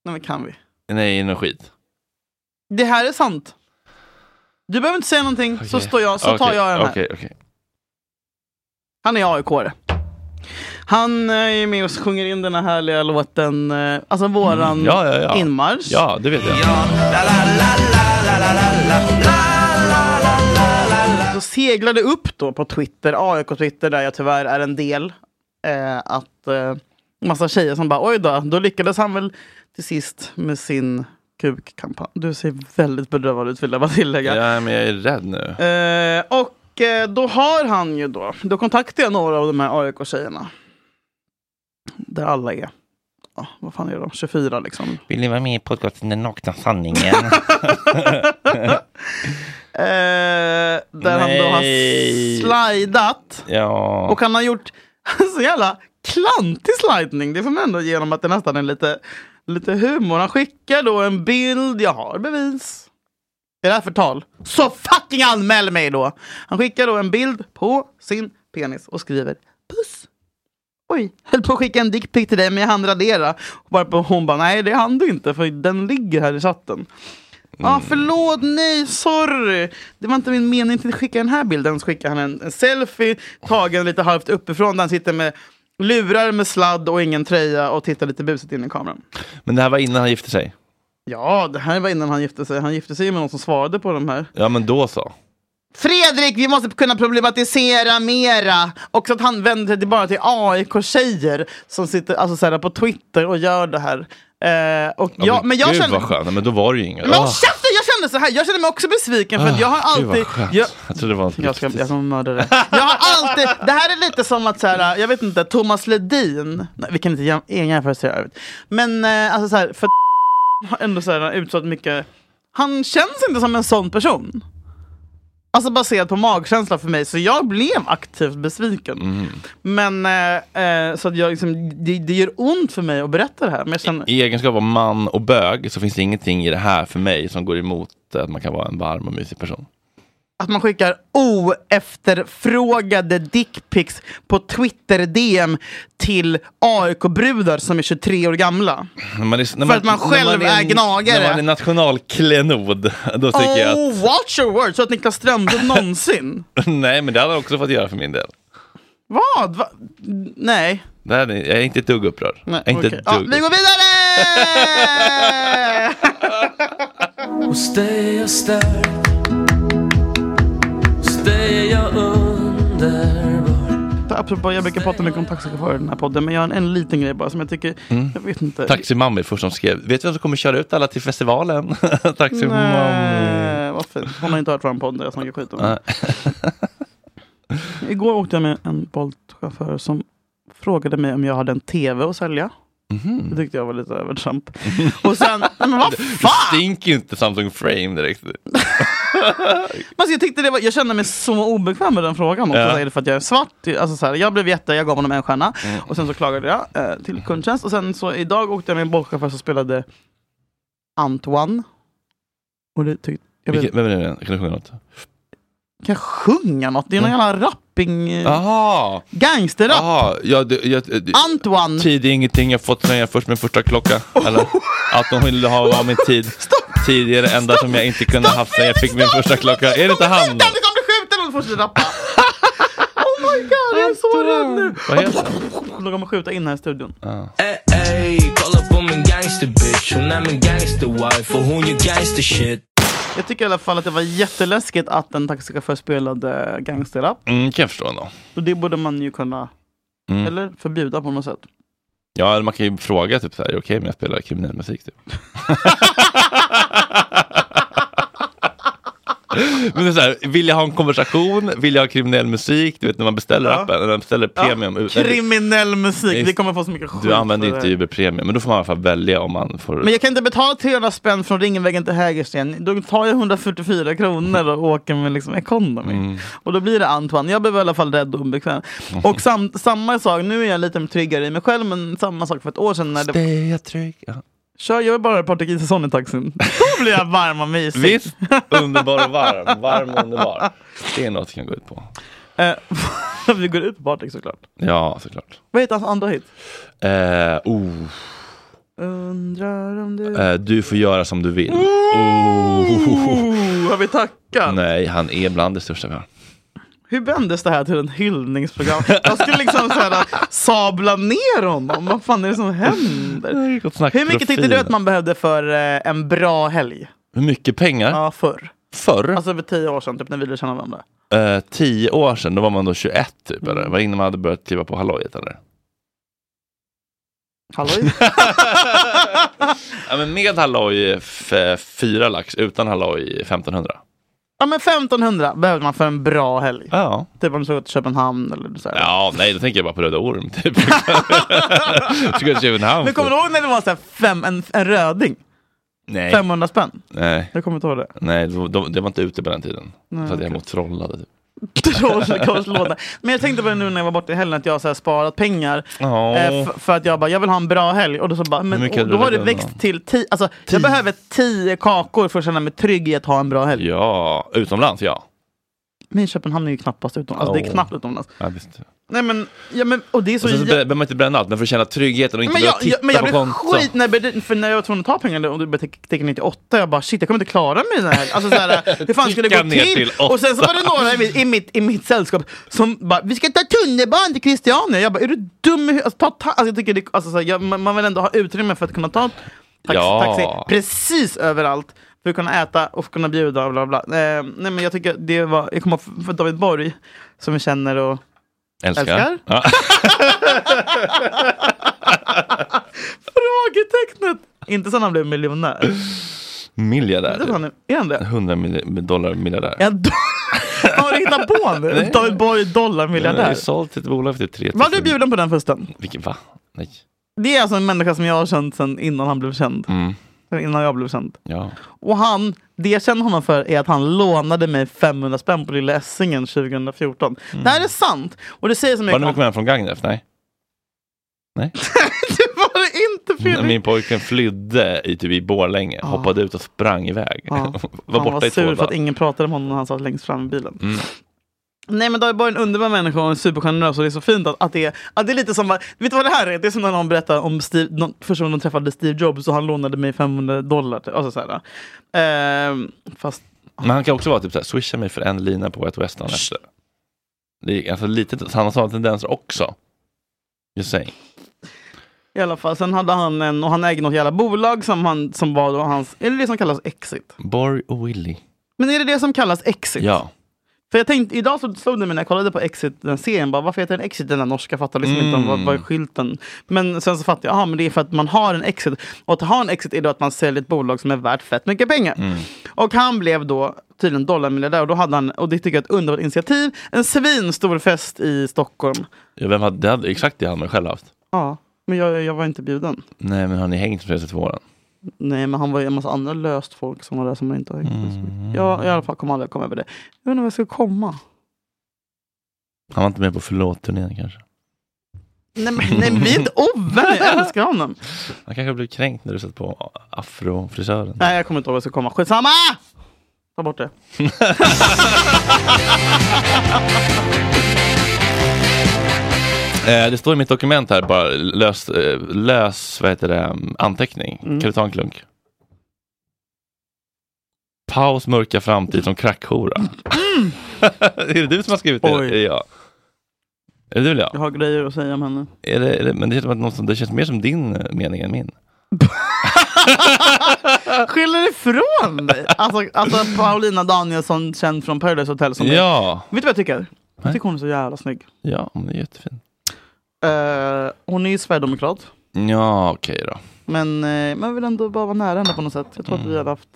Nej men kan vi?
Nej, någon skit.
Det här är sant. Du behöver inte säga någonting, så,
Okej.
står jag, så tar
Ah, Okej,
jag den här.
Okej, okej.
Han är AIK-are. Han eh, är med och sjunger in den här härliga låten, eh, alltså våran
Mm, Ja, ja, ja.
inmarsch.
Ja, det vet jag.
Så seglade upp då på Twitter, AIK-Twitter där jag tyvärr är en del, eh, att eh, massa tjejer som bara oj då, då lyckades han väl till sist med sin kukkampanj. Du ser väldigt bedrövad ut vill jag bara tillägga.
Ja, men jag är rädd nu.
Eh, och eh, då har han ju då, då kontaktade jag några av de här AIK-tjejerna. Där alla är, ja, vad fan är de, 24 liksom.
Vill ni vara med i podcasten Den nakna sanningen?
Eh, där han då har
Nej.
slidat.
ja.
Och han har gjort så jävla klantig slidning. Det får man ändå ge honom att det nästan är lite, lite humor. Han skickar då en bild, jag har bevis. Är det här förtal? Så fucking anmäl mig då! Han skickar då en bild på sin penis och skriver puss. Oj, höll på att skicka en dickpic till dig men jag hann radera. Varpå hon bara, nej det hann du inte för den ligger här i chatten. Ja, ah, förlåt, nej, sorry. Det var inte min mening att skicka den här bilden. Så skickar han en, en selfie tagen lite halvt uppifrån där han sitter med lurar med sladd och ingen tröja och tittar lite busigt in i kameran.
Men det här var innan han gifte sig.
Ja, det här var innan han gifte sig. Han gifte sig med någon som svarade på de här.
Ja, men då så.
Fredrik, vi måste kunna problematisera mera. Och så att han vänder sig till- bara till AIK-tjejer som sitter alltså, så här, på Twitter och gör det här. Eh, och
Ja,
jag, men jag
gud
känner...
vad skönt. Nej, Men då var det ju inget.
Men håll
Ah.
käften, jag känner så här. Jag känner mig också besviken för att
Ah,
jag har
gud, vad
alltid...
skönt.
Jag,
Jag trodde det var
jag ska, jag kommer mörda dig. Jag har alltid, det här är lite som att, så här, jag vet inte, Thomas Ledin, nej, vi kan inte jäm, ingen jämförelse i övrigt. Men eh, alltså så här, för har ändå så här, utsatt mycket, han känns inte som en sån person. Alltså baserat på magkänsla för mig, så jag blev aktivt besviken. Men eh, eh, så att jag liksom, det, det gör ont för mig att berätta det här. Men jag känner,
I egenskap av man och bög så finns det ingenting i det här för mig som går emot att man kan vara en varm och mysig person.
Att man skickar oefterfrågade dickpics på Twitter-DM till AIK-brudar som är 23 år gamla.
När man är, när
För att man
när
själv är
en-
gnagare.
När man är nationalklenod, då tycker
oh,
jag att...
watch your words! Så att Niklas Strömstedt någonsin.
Nej, men det hade jag också fått göra för min del.
Vad? Va? Nej.
Det här, är- jag är inte ett dugg upprörd.
Nej,
jag är inte
okej.
ett
ja,
dugg.
Vi går vidare!
Hos dig jag stärkt Hos dig jag underbar
prata, apropå, jag brukar prata mycket om taxichaufförer i den här podden, men jag har en, en liten grej bara som jag tycker,
Mm.
jag vet inte.
Taximammi först som skrev. Vet du vem som kommer köra ut alla till festivalen? Taximammi.
Nej, vad fint. Hon har inte hört vår podd där jag snackar skit om henne. Igår åkte jag med en Bolt-chaufför som frågade mig om jag hade en tv att sälja.
Mm-hmm.
Det tyckte jag var lite övertramp. Och sen, nej men vad
Det stinker ju inte Samsung Frame direkt.
Men alltså jag, tyckte det var, jag kände mig så obekväm med den frågan. Också,
Ja.
Så Är det för att jag är svart? Alltså så här, jag blev jätte, jag gav honom en stjärna.
Mm.
Och sen så klagade jag eh, till kundtjänst. Och sen så idag åkte jag med en bolchaufför som spelade Antoine. Och det tyckte jag blev,
Vilken, vem är det? nu? Kan du sjunga något?
Kan jag sjunga något? Det är någon
Mm.
jävla rapping... eh,
Jaha!
Gangsterrap!
Jaha, jag, jag, jag,
Antoine!
Tid är ingenting jag fått när jag först min första klocka. Eller att de ville ha av min tid. Tid är det enda som jag inte kunde haft när jag fick min första klocka. Är det inte han?
Kan du kommer bli skjuten om du fortsätter rappa! oh my god, jag är så rädd nu!
Vad heter
De kommer skjuta in här i studion.
Ey, ey, kolla på min gangster bitch. Hon är min gangster wife och hon gör gangster shit.
Jag tycker i alla fall att det var jätteläskigt att en taxichaufför spelade gangsterrap.
Mm, kan jag förstå ändå.
Så det borde man ju kunna
Mm.
eller förbjuda på något sätt.
Ja, eller man kan ju fråga typ så här, är det okej om jag spelar kriminell musik typ? Men det är så här, vill jag ha en konversation? Vill jag ha kriminell musik? Du vet när man beställer appen, när man beställer premium. ut-
Kriminell musik,
Visst.
det kommer få så mycket skit.
du använder
för
inte
det.
Uber Premium, men då får man i alla fall välja om man får...
Men jag kan inte betala 300 spänn från Ringevägen till Hägersten. Då tar jag 144 kronor och åker med liksom economy.
Mm.
Och då blir det Antoine. Jag blev i alla fall rädd och obekväm. Och sam, samma sak, nu är jag lite tryggare i mig själv, men samma sak för ett år sedan när det...
Stay trygg. Ja.
Kör jag bara Patrik Isaksson i taxin. Då blir jag varm och mysig.
Visst, underbar och varm. Varm och underbar. Det är något jag kan gå ut på.
Eh, vi går ut på Patrik såklart.
Ja, såklart.
Vad heter hans andra hit?
Eh, oh,
Undrar om du...
eh, du får göra som du vill. Oh.
Oh, har vi tackat?
Nej, han är bland det största vi har.
Hur vändes det här till en hyllningsprogram? Jag skulle liksom så här, sabla ner honom. Vad fan är det som händer? Hur mycket tyckte du att man behövde för eh, en bra helg?
Hur mycket pengar?
Ja, förr.
Förr?
Alltså för tio år sedan, typ när vi lärde känna varandra.
Eh, tio år sedan, då var man då 21 typ, eller? Var det innan man hade börjat kliva på hallojet eller?
Halloj?
Ja, men med halloj f- fyra lax, utan halloj 1500.
ja, men 1500 behövde man för en bra helg.
Ja.
Typ om du ska gå till Köpenhamn eller så här.
Ja, nej, då tänker jag bara på Röda Orm typ. Ska jag till Köpenhamn?
Men kommer du ihåg när det var så här fem, en, en röding?
Nej.
500 spänn?
Nej.
Jag kommer inte ihåg det.
Nej, de, de, det var inte ute på den tiden.
Nej,
Nej, så att jag mot trollade. Typ.
Troll- korslåda. Men jag tänkte på det nu när jag var borta i helgen, att jag har så här sparat pengar.
Ja.
Eh, f- för att jag bara, jag vill ha en bra helg. Och då, så bara, men,
mycket
och då
hade
har
du
det
lagt
växt till tio. Alltså, jag behöver tio kakor för att känna mig trygg i att ha en bra helg.
Ja, utomlands ja.
Men Köpenhamn är ju knappast utomlands. Alltså, det är
Ja.
knappt
Alltså, typ, eh,
utomlands.
ja visst.
Nej men, ja, men och det är så...
Och sen så
jä-
behöver man inte bränna allt, men för att känna tryggheten och inte
men
behöva
jag,
titta
jag, men jag
på
blev
konton.
skit när, jag började- för när jag var tvungen att ta pengarna och det började tick- ticka ner till åtta. Jag bara shit, jag kommer inte klara mig den här Alltså så här, hur fan skulle det
Ticka
gå
ner
till?
till
och sen så
åtta.
var det några i mitt, i mitt, i mitt sällskap som bara, vi ska ta tunnelbanan till Christiania. Jag bara, är du dum i hu- alltså, ta, ta, alltså, jag tycker det, alltså, så här, jag, man, man vill ändå ha utrymme för att kunna ta taxi,
Ja.
taxi precis överallt. För att kunna äta och kunna bjuda. Bla, bla. Eh, nej men jag tycker det var, jag kommer ihåg för David Borg som vi känner och
Älskar.
älskar.
Ja.
Frågetecknet! Inte sen han blev miljonär.
Miljardär.
Det var han- Är han det?
100 mil- dollar miljardär.
En do- Vad har du hittat på nu? David Borg
Jag har
dollarmiljardär.
sålt till ett bolag för typ 3 000.
Var du bjuden på den festen?
Vilken, va? Nej.
Det är alltså en människa som jag har känt sedan innan han blev känd.
Mm.
Eller Innan jag blev känd.
Ja.
Och han, det jag känner honom för är att han lånade mig 500 spänn på Lilla Essingen 2014.
Mm.
Det här är sant! Och det säger så
Var
mycket
du
om...
med hem från Gagnef? Nej.
Det var det inte Fredrik!
Min pojkvän flydde i, typ, i Borlänge,
Ja.
hoppade ut och sprang iväg.
Ja.
var
han
borta
var
i två
sur för
dagar.
att ingen pratade om honom när han satt längst fram i bilen.
Mm.
Nej men David Borg är en underbar människa och en supergenerös och det är så fint att, att, det, är, att det är lite som, att- vet du vad det här är? Det är som när någon berättar om Steve, någon, första gången de träffade Steve Jobs och han lånade mig 500 dollar. typ. Alltså, så här, ehm, fast
Men han kan också vara typ såhär, swisha mig för en lina på ett West dagen efter. Det är, alltså, lite, han har sådana tendenser också. Just saying.
i alla fall, sen hade han en, och han ägde något jävla bolag som, han, som var då hans, är det det som kallas exit?
Borg och Willy.
Men är det det som kallas exit?
Ja.
För jag tänkte, idag så slog det mig när jag kollade på Exit, den serien, bara, varför heter den Exit den där norska? Jag fattar liksom inte om vad,
Mm.
vad är skylten. Men sen så fattade jag, aha, men det är för att man har en exit. Och att ha en exit är då att man säljer ett bolag som är värt fett mycket pengar. Och han blev då tydligen dollarmiljardär och då hade han, och det tycker jag är ett underbart initiativ, en svinstor fest i Stockholm.
Ja, vem hade, det hade exakt det hade man själv haft.
Ja, men jag, jag var inte bjuden.
Nej, men har ni hängt med sig till våren?
Nej, men han var ju en massa andra löst folk som var där som jag inte har hängt med så mycket. Jag i alla fall kommer aldrig komma över det. Jag vet inte vad jag ska komma.
Han var inte med på förlåt-turnén kanske?
Nej, men, nej, men vi är inte ovänner, jag älskar honom.
Han kanske blev kränkt när du satt på afrofrisören.
Nej, jag kommer inte ihåg vad jag ska komma. Skitsamma! Ta bort det.
Eh, det står i mitt dokument här, bara lös, eh, lös vad heter det, anteckning.
Mm.
Kan du ta en klunk? Paus mörka framtid som krackhora. är det du som har skrivit det?
Mm. Oj.
Ja. Är det du eller jag?
Jag har grejer att säga om henne.
Är det, är det, men det känns, som att någon som, det känns mer som din eh, mening än min.
Skyller ifrån dig! Alltså, alltså Paulina Danielsson, känd från Paradise Hotel. Som
Ja.
Är, vet du vad jag tycker? Jag tycker hon är så jävla snygg.
Ja, men det är jättefin.
Eh, hon är ju sverigedemokrat.
Ja, okej då.
Men eh, man vill ändå bara vara nära henne på något sätt. Jag tror att vi hade haft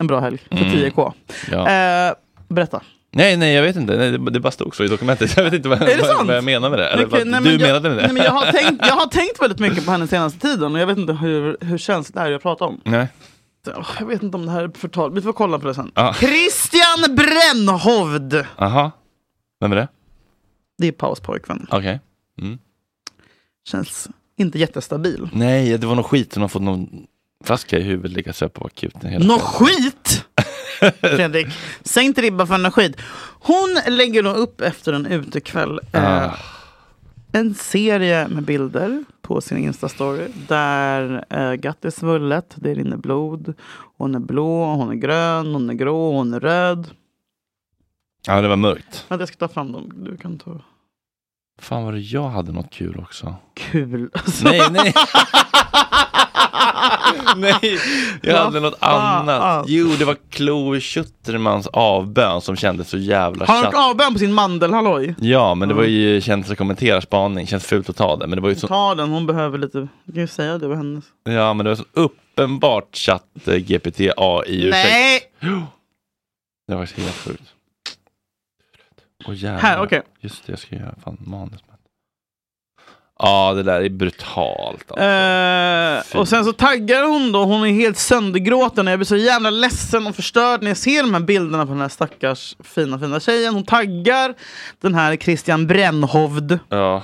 en bra helg för
Mm.
10K.
Ja.
Eh, berätta.
Nej, nej, jag vet inte. Nej, det, det bara stod så i dokumentet. Jag vet inte vad,
Är det
vad,
sant?
vad jag menar med det. Eller
Okej,
vad
nej,
du
men jag-
menade med det.
Nej, men jag, har tänkt, jag har tänkt väldigt mycket på henne senaste tiden och jag vet inte hur, hur känsligt det här är jag pratar om.
Nej.
Så, åh, Jag vet inte om det här är förtal. Vi får kolla på det sen.
Ja.
Christian Brännhovd!
Aha. Vem är det?
Det är Paus pojkvän.
Okej. Mm.
Känns inte jättestabil.
Nej, det var någon skit. Hon har fått någon flaska i huvudet, legat sig på akuten. hela
Någon
tiden.
skit! Fredrik, sänk ribban för någon skit. Hon lägger då upp efter en utekväll eh,
Ah.
en serie med bilder på sin Insta-story där eh, Gatt är svullet, det rinner blod, hon är blå, hon är grön, hon är grå, hon är röd.
Ja, det var mörkt.
Vänta, jag ska ta fram dem. Du kan ta...
Fan vad det- jag hade något kul också.
Kul? Alltså,
Nej, nej. nej, jag
Vad
hade något
fan.
annat. Jo, det var Chloe Schuttermans avbön som kändes så jävla
Har hon
chatt.
avbön på sin mandelhalloj?
Ja, men det var ju känns att kommentera spaning, känns fult att ta det. Men det var ju så
Ta den, hon behöver lite... Du kan ju säga det var hennes.
Ja, men det var så uppenbart chatt eh, GPT AI-ursäkt.
Nej!
Det var faktiskt helt sjukt. Åh jävlar.
Här, okej.
Just det, jag ska göra fan manus. med. Ja, det där är brutalt. Alltså.
Eh, och sen så taggar hon då, hon är helt söndergråten och jag blir så jävla ledsen och förstörd när jag ser de här bilderna på den här stackars fina fina tjejen. Hon taggar den här Christian Brännhovd.
Ja.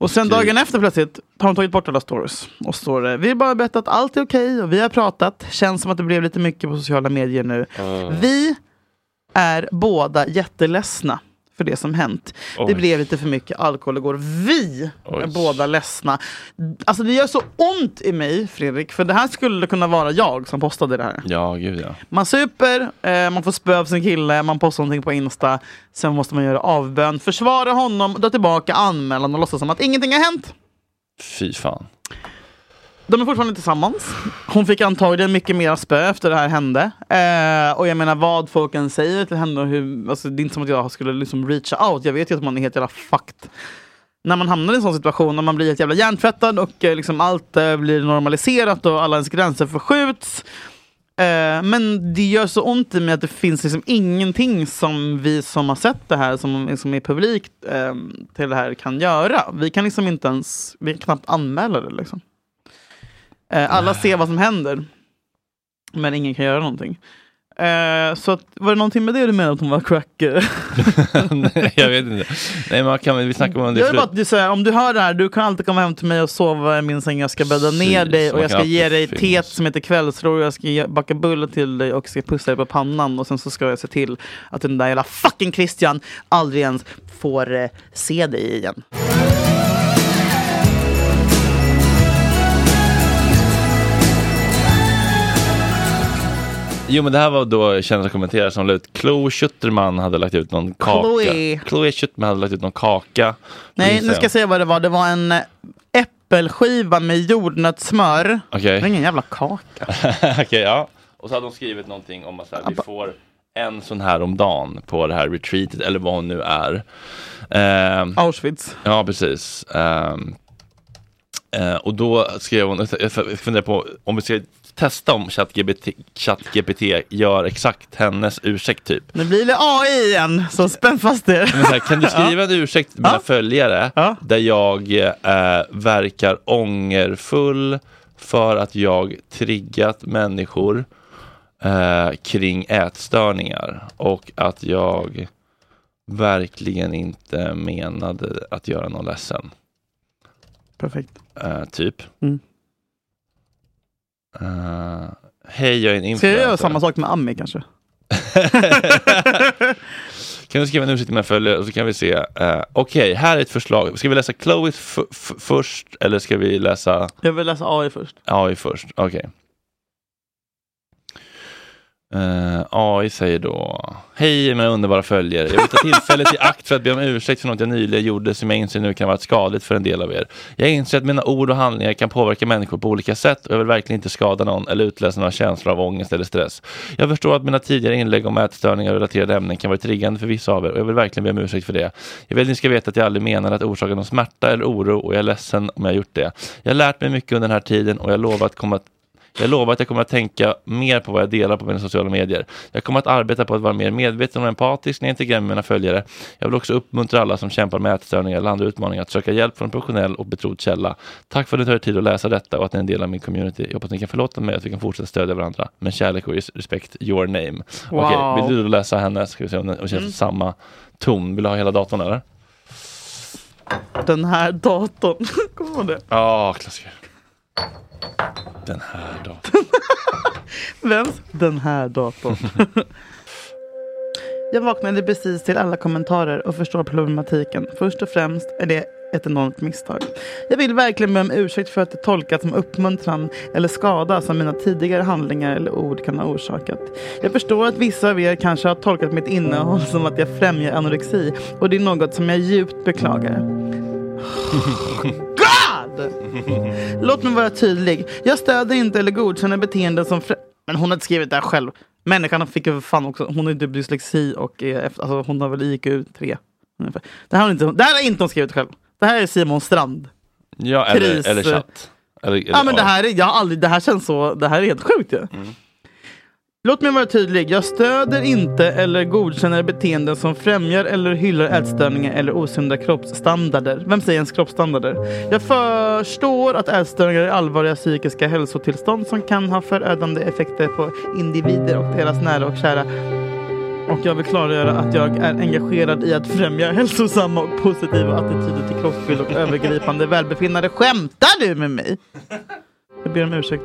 Och sen
Gud.
dagen efter plötsligt har hon tagit bort alla stories. Och står det, vi har bara berättat att allt är okej och vi har pratat. Känns som att det blev lite mycket på sociala medier nu.
Ah.
Vi är båda jätteledsna för det som hänt.
Oj.
Det blev lite för mycket alkohol igår. Vi är
Oj.
båda ledsna. Alltså det gör så ont i mig, Fredrik, för det här skulle kunna vara jag som postade det här.
Ja, gud ja.
Man super, eh, man får spö av sin kille, man postar någonting på Insta. Sen måste man göra avbön, försvara honom, dra tillbaka anmälan och låtsas som att ingenting har hänt.
Fy fan.
De är fortfarande tillsammans. Hon fick antagligen mycket mer spö efter det här hände. Eh, och jag menar vad folk än säger till henne. och Hur, alltså, det är inte som att jag skulle liksom reacha out. Jag vet ju att man är helt jävla fucked. När man hamnar i en sån situation, när man blir helt jävla hjärntvättad och eh, liksom allt eh, blir normaliserat och alla ens gränser förskjuts. Eh, men det gör så ont i mig att det finns liksom ingenting som vi som har sett det här, som, som är publikt eh, till det här kan göra. Vi kan liksom inte ens, vi kan knappt anmäla det liksom. Eh, alla ser vad som händer. Men ingen kan göra någonting. Eh, så att, var det någonting med det du menade att hon var crack? eh?
Nej, jag vet inte. Nej, men kan vi- vi snackar om det
jag vill bara
förut.
att du säger, om du hör det här, du kan alltid komma hem till mig och sova i min säng. Jag ska bädda ner
Precis,
dig och
man
jag
kan
ska ge
alltid
dig
finnas.
teet som heter kvällsro. Jag ska ge- baka bullar till dig och ska pussa dig på pannan. Och sen så ska jag se till att den där jävla fucking Christian aldrig ens får eh, se dig igen.
Jo, men det här var då kändisar kommenterar som la ut Chloe Schutterman hade lagt ut någon kaka.
Chloe.
Chloe Schutterman hade lagt ut någon kaka.
Nej, nu ska jag säga vad det var. Det var en eh, äppelskiva med jordnötssmör.
Okej.
Det var ingen jävla kaka.
Okej, ja. Och så hade hon skrivit någonting om att så här, vi får en sån här om dagen på det här retreatet eller vad hon nu är. Ehm,
Auschwitz.
Ja, precis. Ehm, eh, och då skrev hon, jag funderar på om vi ska testa om ChatGPT, ChatGPT gör exakt hennes ursäkt typ.
Nu blir det AI igen, så spänn fast er.
Men så här, kan du skriva en ursäkt till mina följare där jag eh, verkar ångerfull för att jag triggat människor eh, kring ätstörningar och att jag verkligen inte menade att göra någon ledsen.
Perfekt.
Eh, typ.
Mm.
Eh, Hej, jag är en
Ska jag göra
influencer.
samma sak med Ami kanske?
Kan du skriva en ursäkt till mina följare och så kan vi se. eh, Okej, här är ett förslag. Ska vi läsa Chloe f- f- först eller ska vi läsa
Jag vill läsa AI först.
AI först? Okej. Eh, AI säger då Hej mina underbara följare. Jag vill ta tillfället i akt för att be om ursäkt för något jag nyligen gjorde som jag inser nu kan vara skadligt för en del av er. Jag inser att mina ord och handlingar kan påverka människor på olika sätt och jag vill verkligen inte skada någon eller utlösa några känslor av ångest eller stress. Jag förstår att mina tidigare inlägg om ätstörningar och relaterade ämnen kan vara triggande för vissa av er och jag vill verkligen be om ursäkt för det. Jag vill att ni ska veta att jag aldrig menade att orsaka någon smärta eller oro och jag är ledsen om jag gjort det. Jag har lärt mig mycket under den här tiden och jag lovar att komma jag lovar att jag kommer att tänka mer på vad jag delar på mina sociala medier. Jag kommer att arbeta på att vara mer medveten och empatisk när jag integrerar med mina följare. Jag vill också uppmuntra alla som kämpar med ätstörningar eller andra utmaningar att söka hjälp från en professionell och betrodd källa. Tack för att ni tar er tid att läsa detta och att ni är en del av min community. Jag hoppas ni kan förlåta mig och att vi kan fortsätta stödja varandra. Med kärlek och res- respekt, your name.
Wow.
Okej, vill du då läsa henne? Ska vi se om den om det känns
Mm.
samma ton. Vill du ha hela datorn eller?
Den här datorn. Kommer du ihåg det?
Ja, klassiker. Den här datorn.
Vems? Den här datorn. Jag vaknade precis till alla kommentarer och förstår problematiken. Först och främst är det ett enormt misstag. Jag vill verkligen be om ursäkt för att det tolkats som uppmuntran eller skada som mina tidigare handlingar eller ord kan ha orsakat. Jag förstår att vissa av er kanske har tolkat mitt innehåll som att jag främjar anorexi och det är något som jag djupt beklagar. God! Låt mig vara tydlig. Jag stöder inte eller godkänner beteenden som... Frä- men hon har inte skrivit det här själv. Människan fick ju för fan också... Hon har ju typ dyslexi och är efter, alltså hon har väl IQ 3. ungefär. Det här har hon inte, det här har inte hon skrivit själv. Det här är Simon Strand.
Ja, eller,
Kris.
eller chatt. Eller, eller
Ja, men det,
AI.
här är, jag har aldrig, det här känns så... Det här är helt sjukt ju. Låt mig vara tydlig. Jag stöder inte eller godkänner beteenden som främjar eller hyllar ätstörningar eller osunda kroppsstandarder. Vem säger ens kroppsstandarder? Jag förstår att ätstörningar är allvarliga psykiska hälsotillstånd som kan ha förödande effekter på individer och deras nära och kära. Och jag vill klargöra att jag är engagerad i att främja hälsosamma och positiva attityder till kroppsbild och övergripande välbefinnande. Skämtar du med mig? Jag ber om ursäkt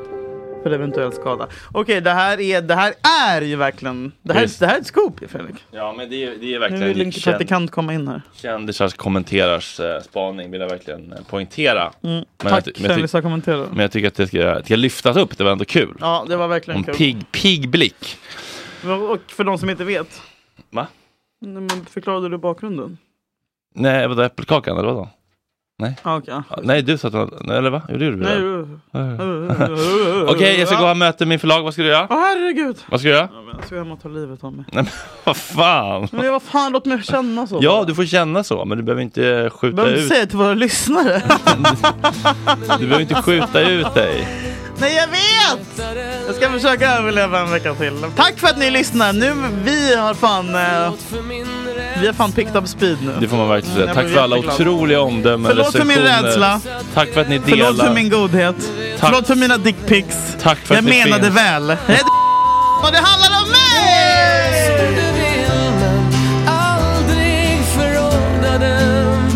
för eventuell skada. Okej, det här är, det här är ju verkligen... Det här,
Visst.
det här är ett scoop ju, Fredrik.
Ja, men det, är- det är
Nu vill
verkligen
inte praktikant komma in här.
kändisars kommenterars eh, spaning vill jag verkligen eh, poängtera.
Mm.
Men
Tack
jag ty- men jag ty-
kändisar kommenterar.
Men jag tycker att det ska, det ska lyftas upp, det var ändå kul.
Ja, det var verkligen
En
kul.
pigg pig blick.
Och för de som inte vet.
Va?
Nej, men Förklarade du bakgrunden?
Nej, vadå äppelkakan eller vadå? Nej.
Ah, okej.
Ja, Nej, du sa att det var- nej, eller va? Jo, det gjorde vi
Nej,
väl?
du-
Okej, jag ska gå och ha möte med min förlag. Vad ska du göra?
Åh herregud!
Vad ska jag göra?
Ja, men jag ska hem och ta livet av mig.
Nej, men vad fan?
Men vad fan, låt mig känna så.
Ja, du får känna så, men du behöver inte
Du
skjuta
behöver inte
ut.
säga till våra lyssnare.
Du behöver inte skjuta ut dig.
Nej, jag vet! Jag ska försöka överleva en vecka till. Tack för att ni lyssnar. Nu, vi har fan... Eh, vi har fan picked up speed nu.
Det får man verkligen
Jag
säga.
blir
Tack för alla
jätteglad.
otroliga omdömen.
Förlåt för min
recensioner.
rädsla.
Tack för att ni delar.
Förlåt för min godhet. Förlåt för mina dickpics.
Tack för
jag
att ni
menade
finns.
väl. Jag heter Och det handlar om
Aldrig förordna den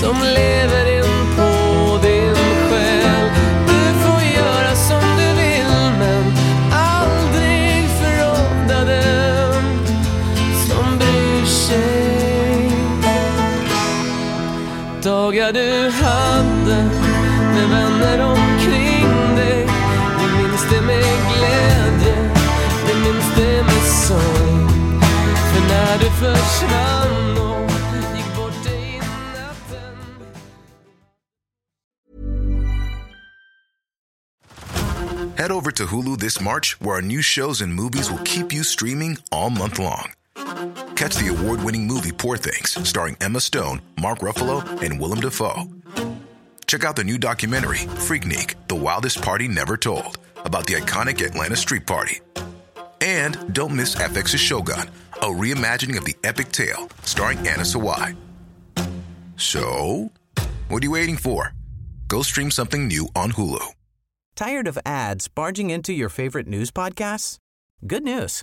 som lever in på din själ. Du får göra som du vill men aldrig förordna den som bryr sig. Dagar du hade med vänner omkring dig, du minns det med glädje, du minns det med sorg. För när du försvann och gick bort dig i natten
Head Head over to Hulu this March, where our new shows and movies will keep you streaming all month long. Catch the award winning movie Poor Things, starring Emma Stone, Mark Ruffalo, and Willem Dafoe. Check out the new documentary, Freaknik The Wildest Party Never Told, about the iconic Atlanta Street Party. And don't miss FX's Shogun, a reimagining of the epic tale, starring Anna Sawai. So, what are you waiting for? Go stream something new on Hulu.
Tired of ads barging into your favorite news podcasts? Good news.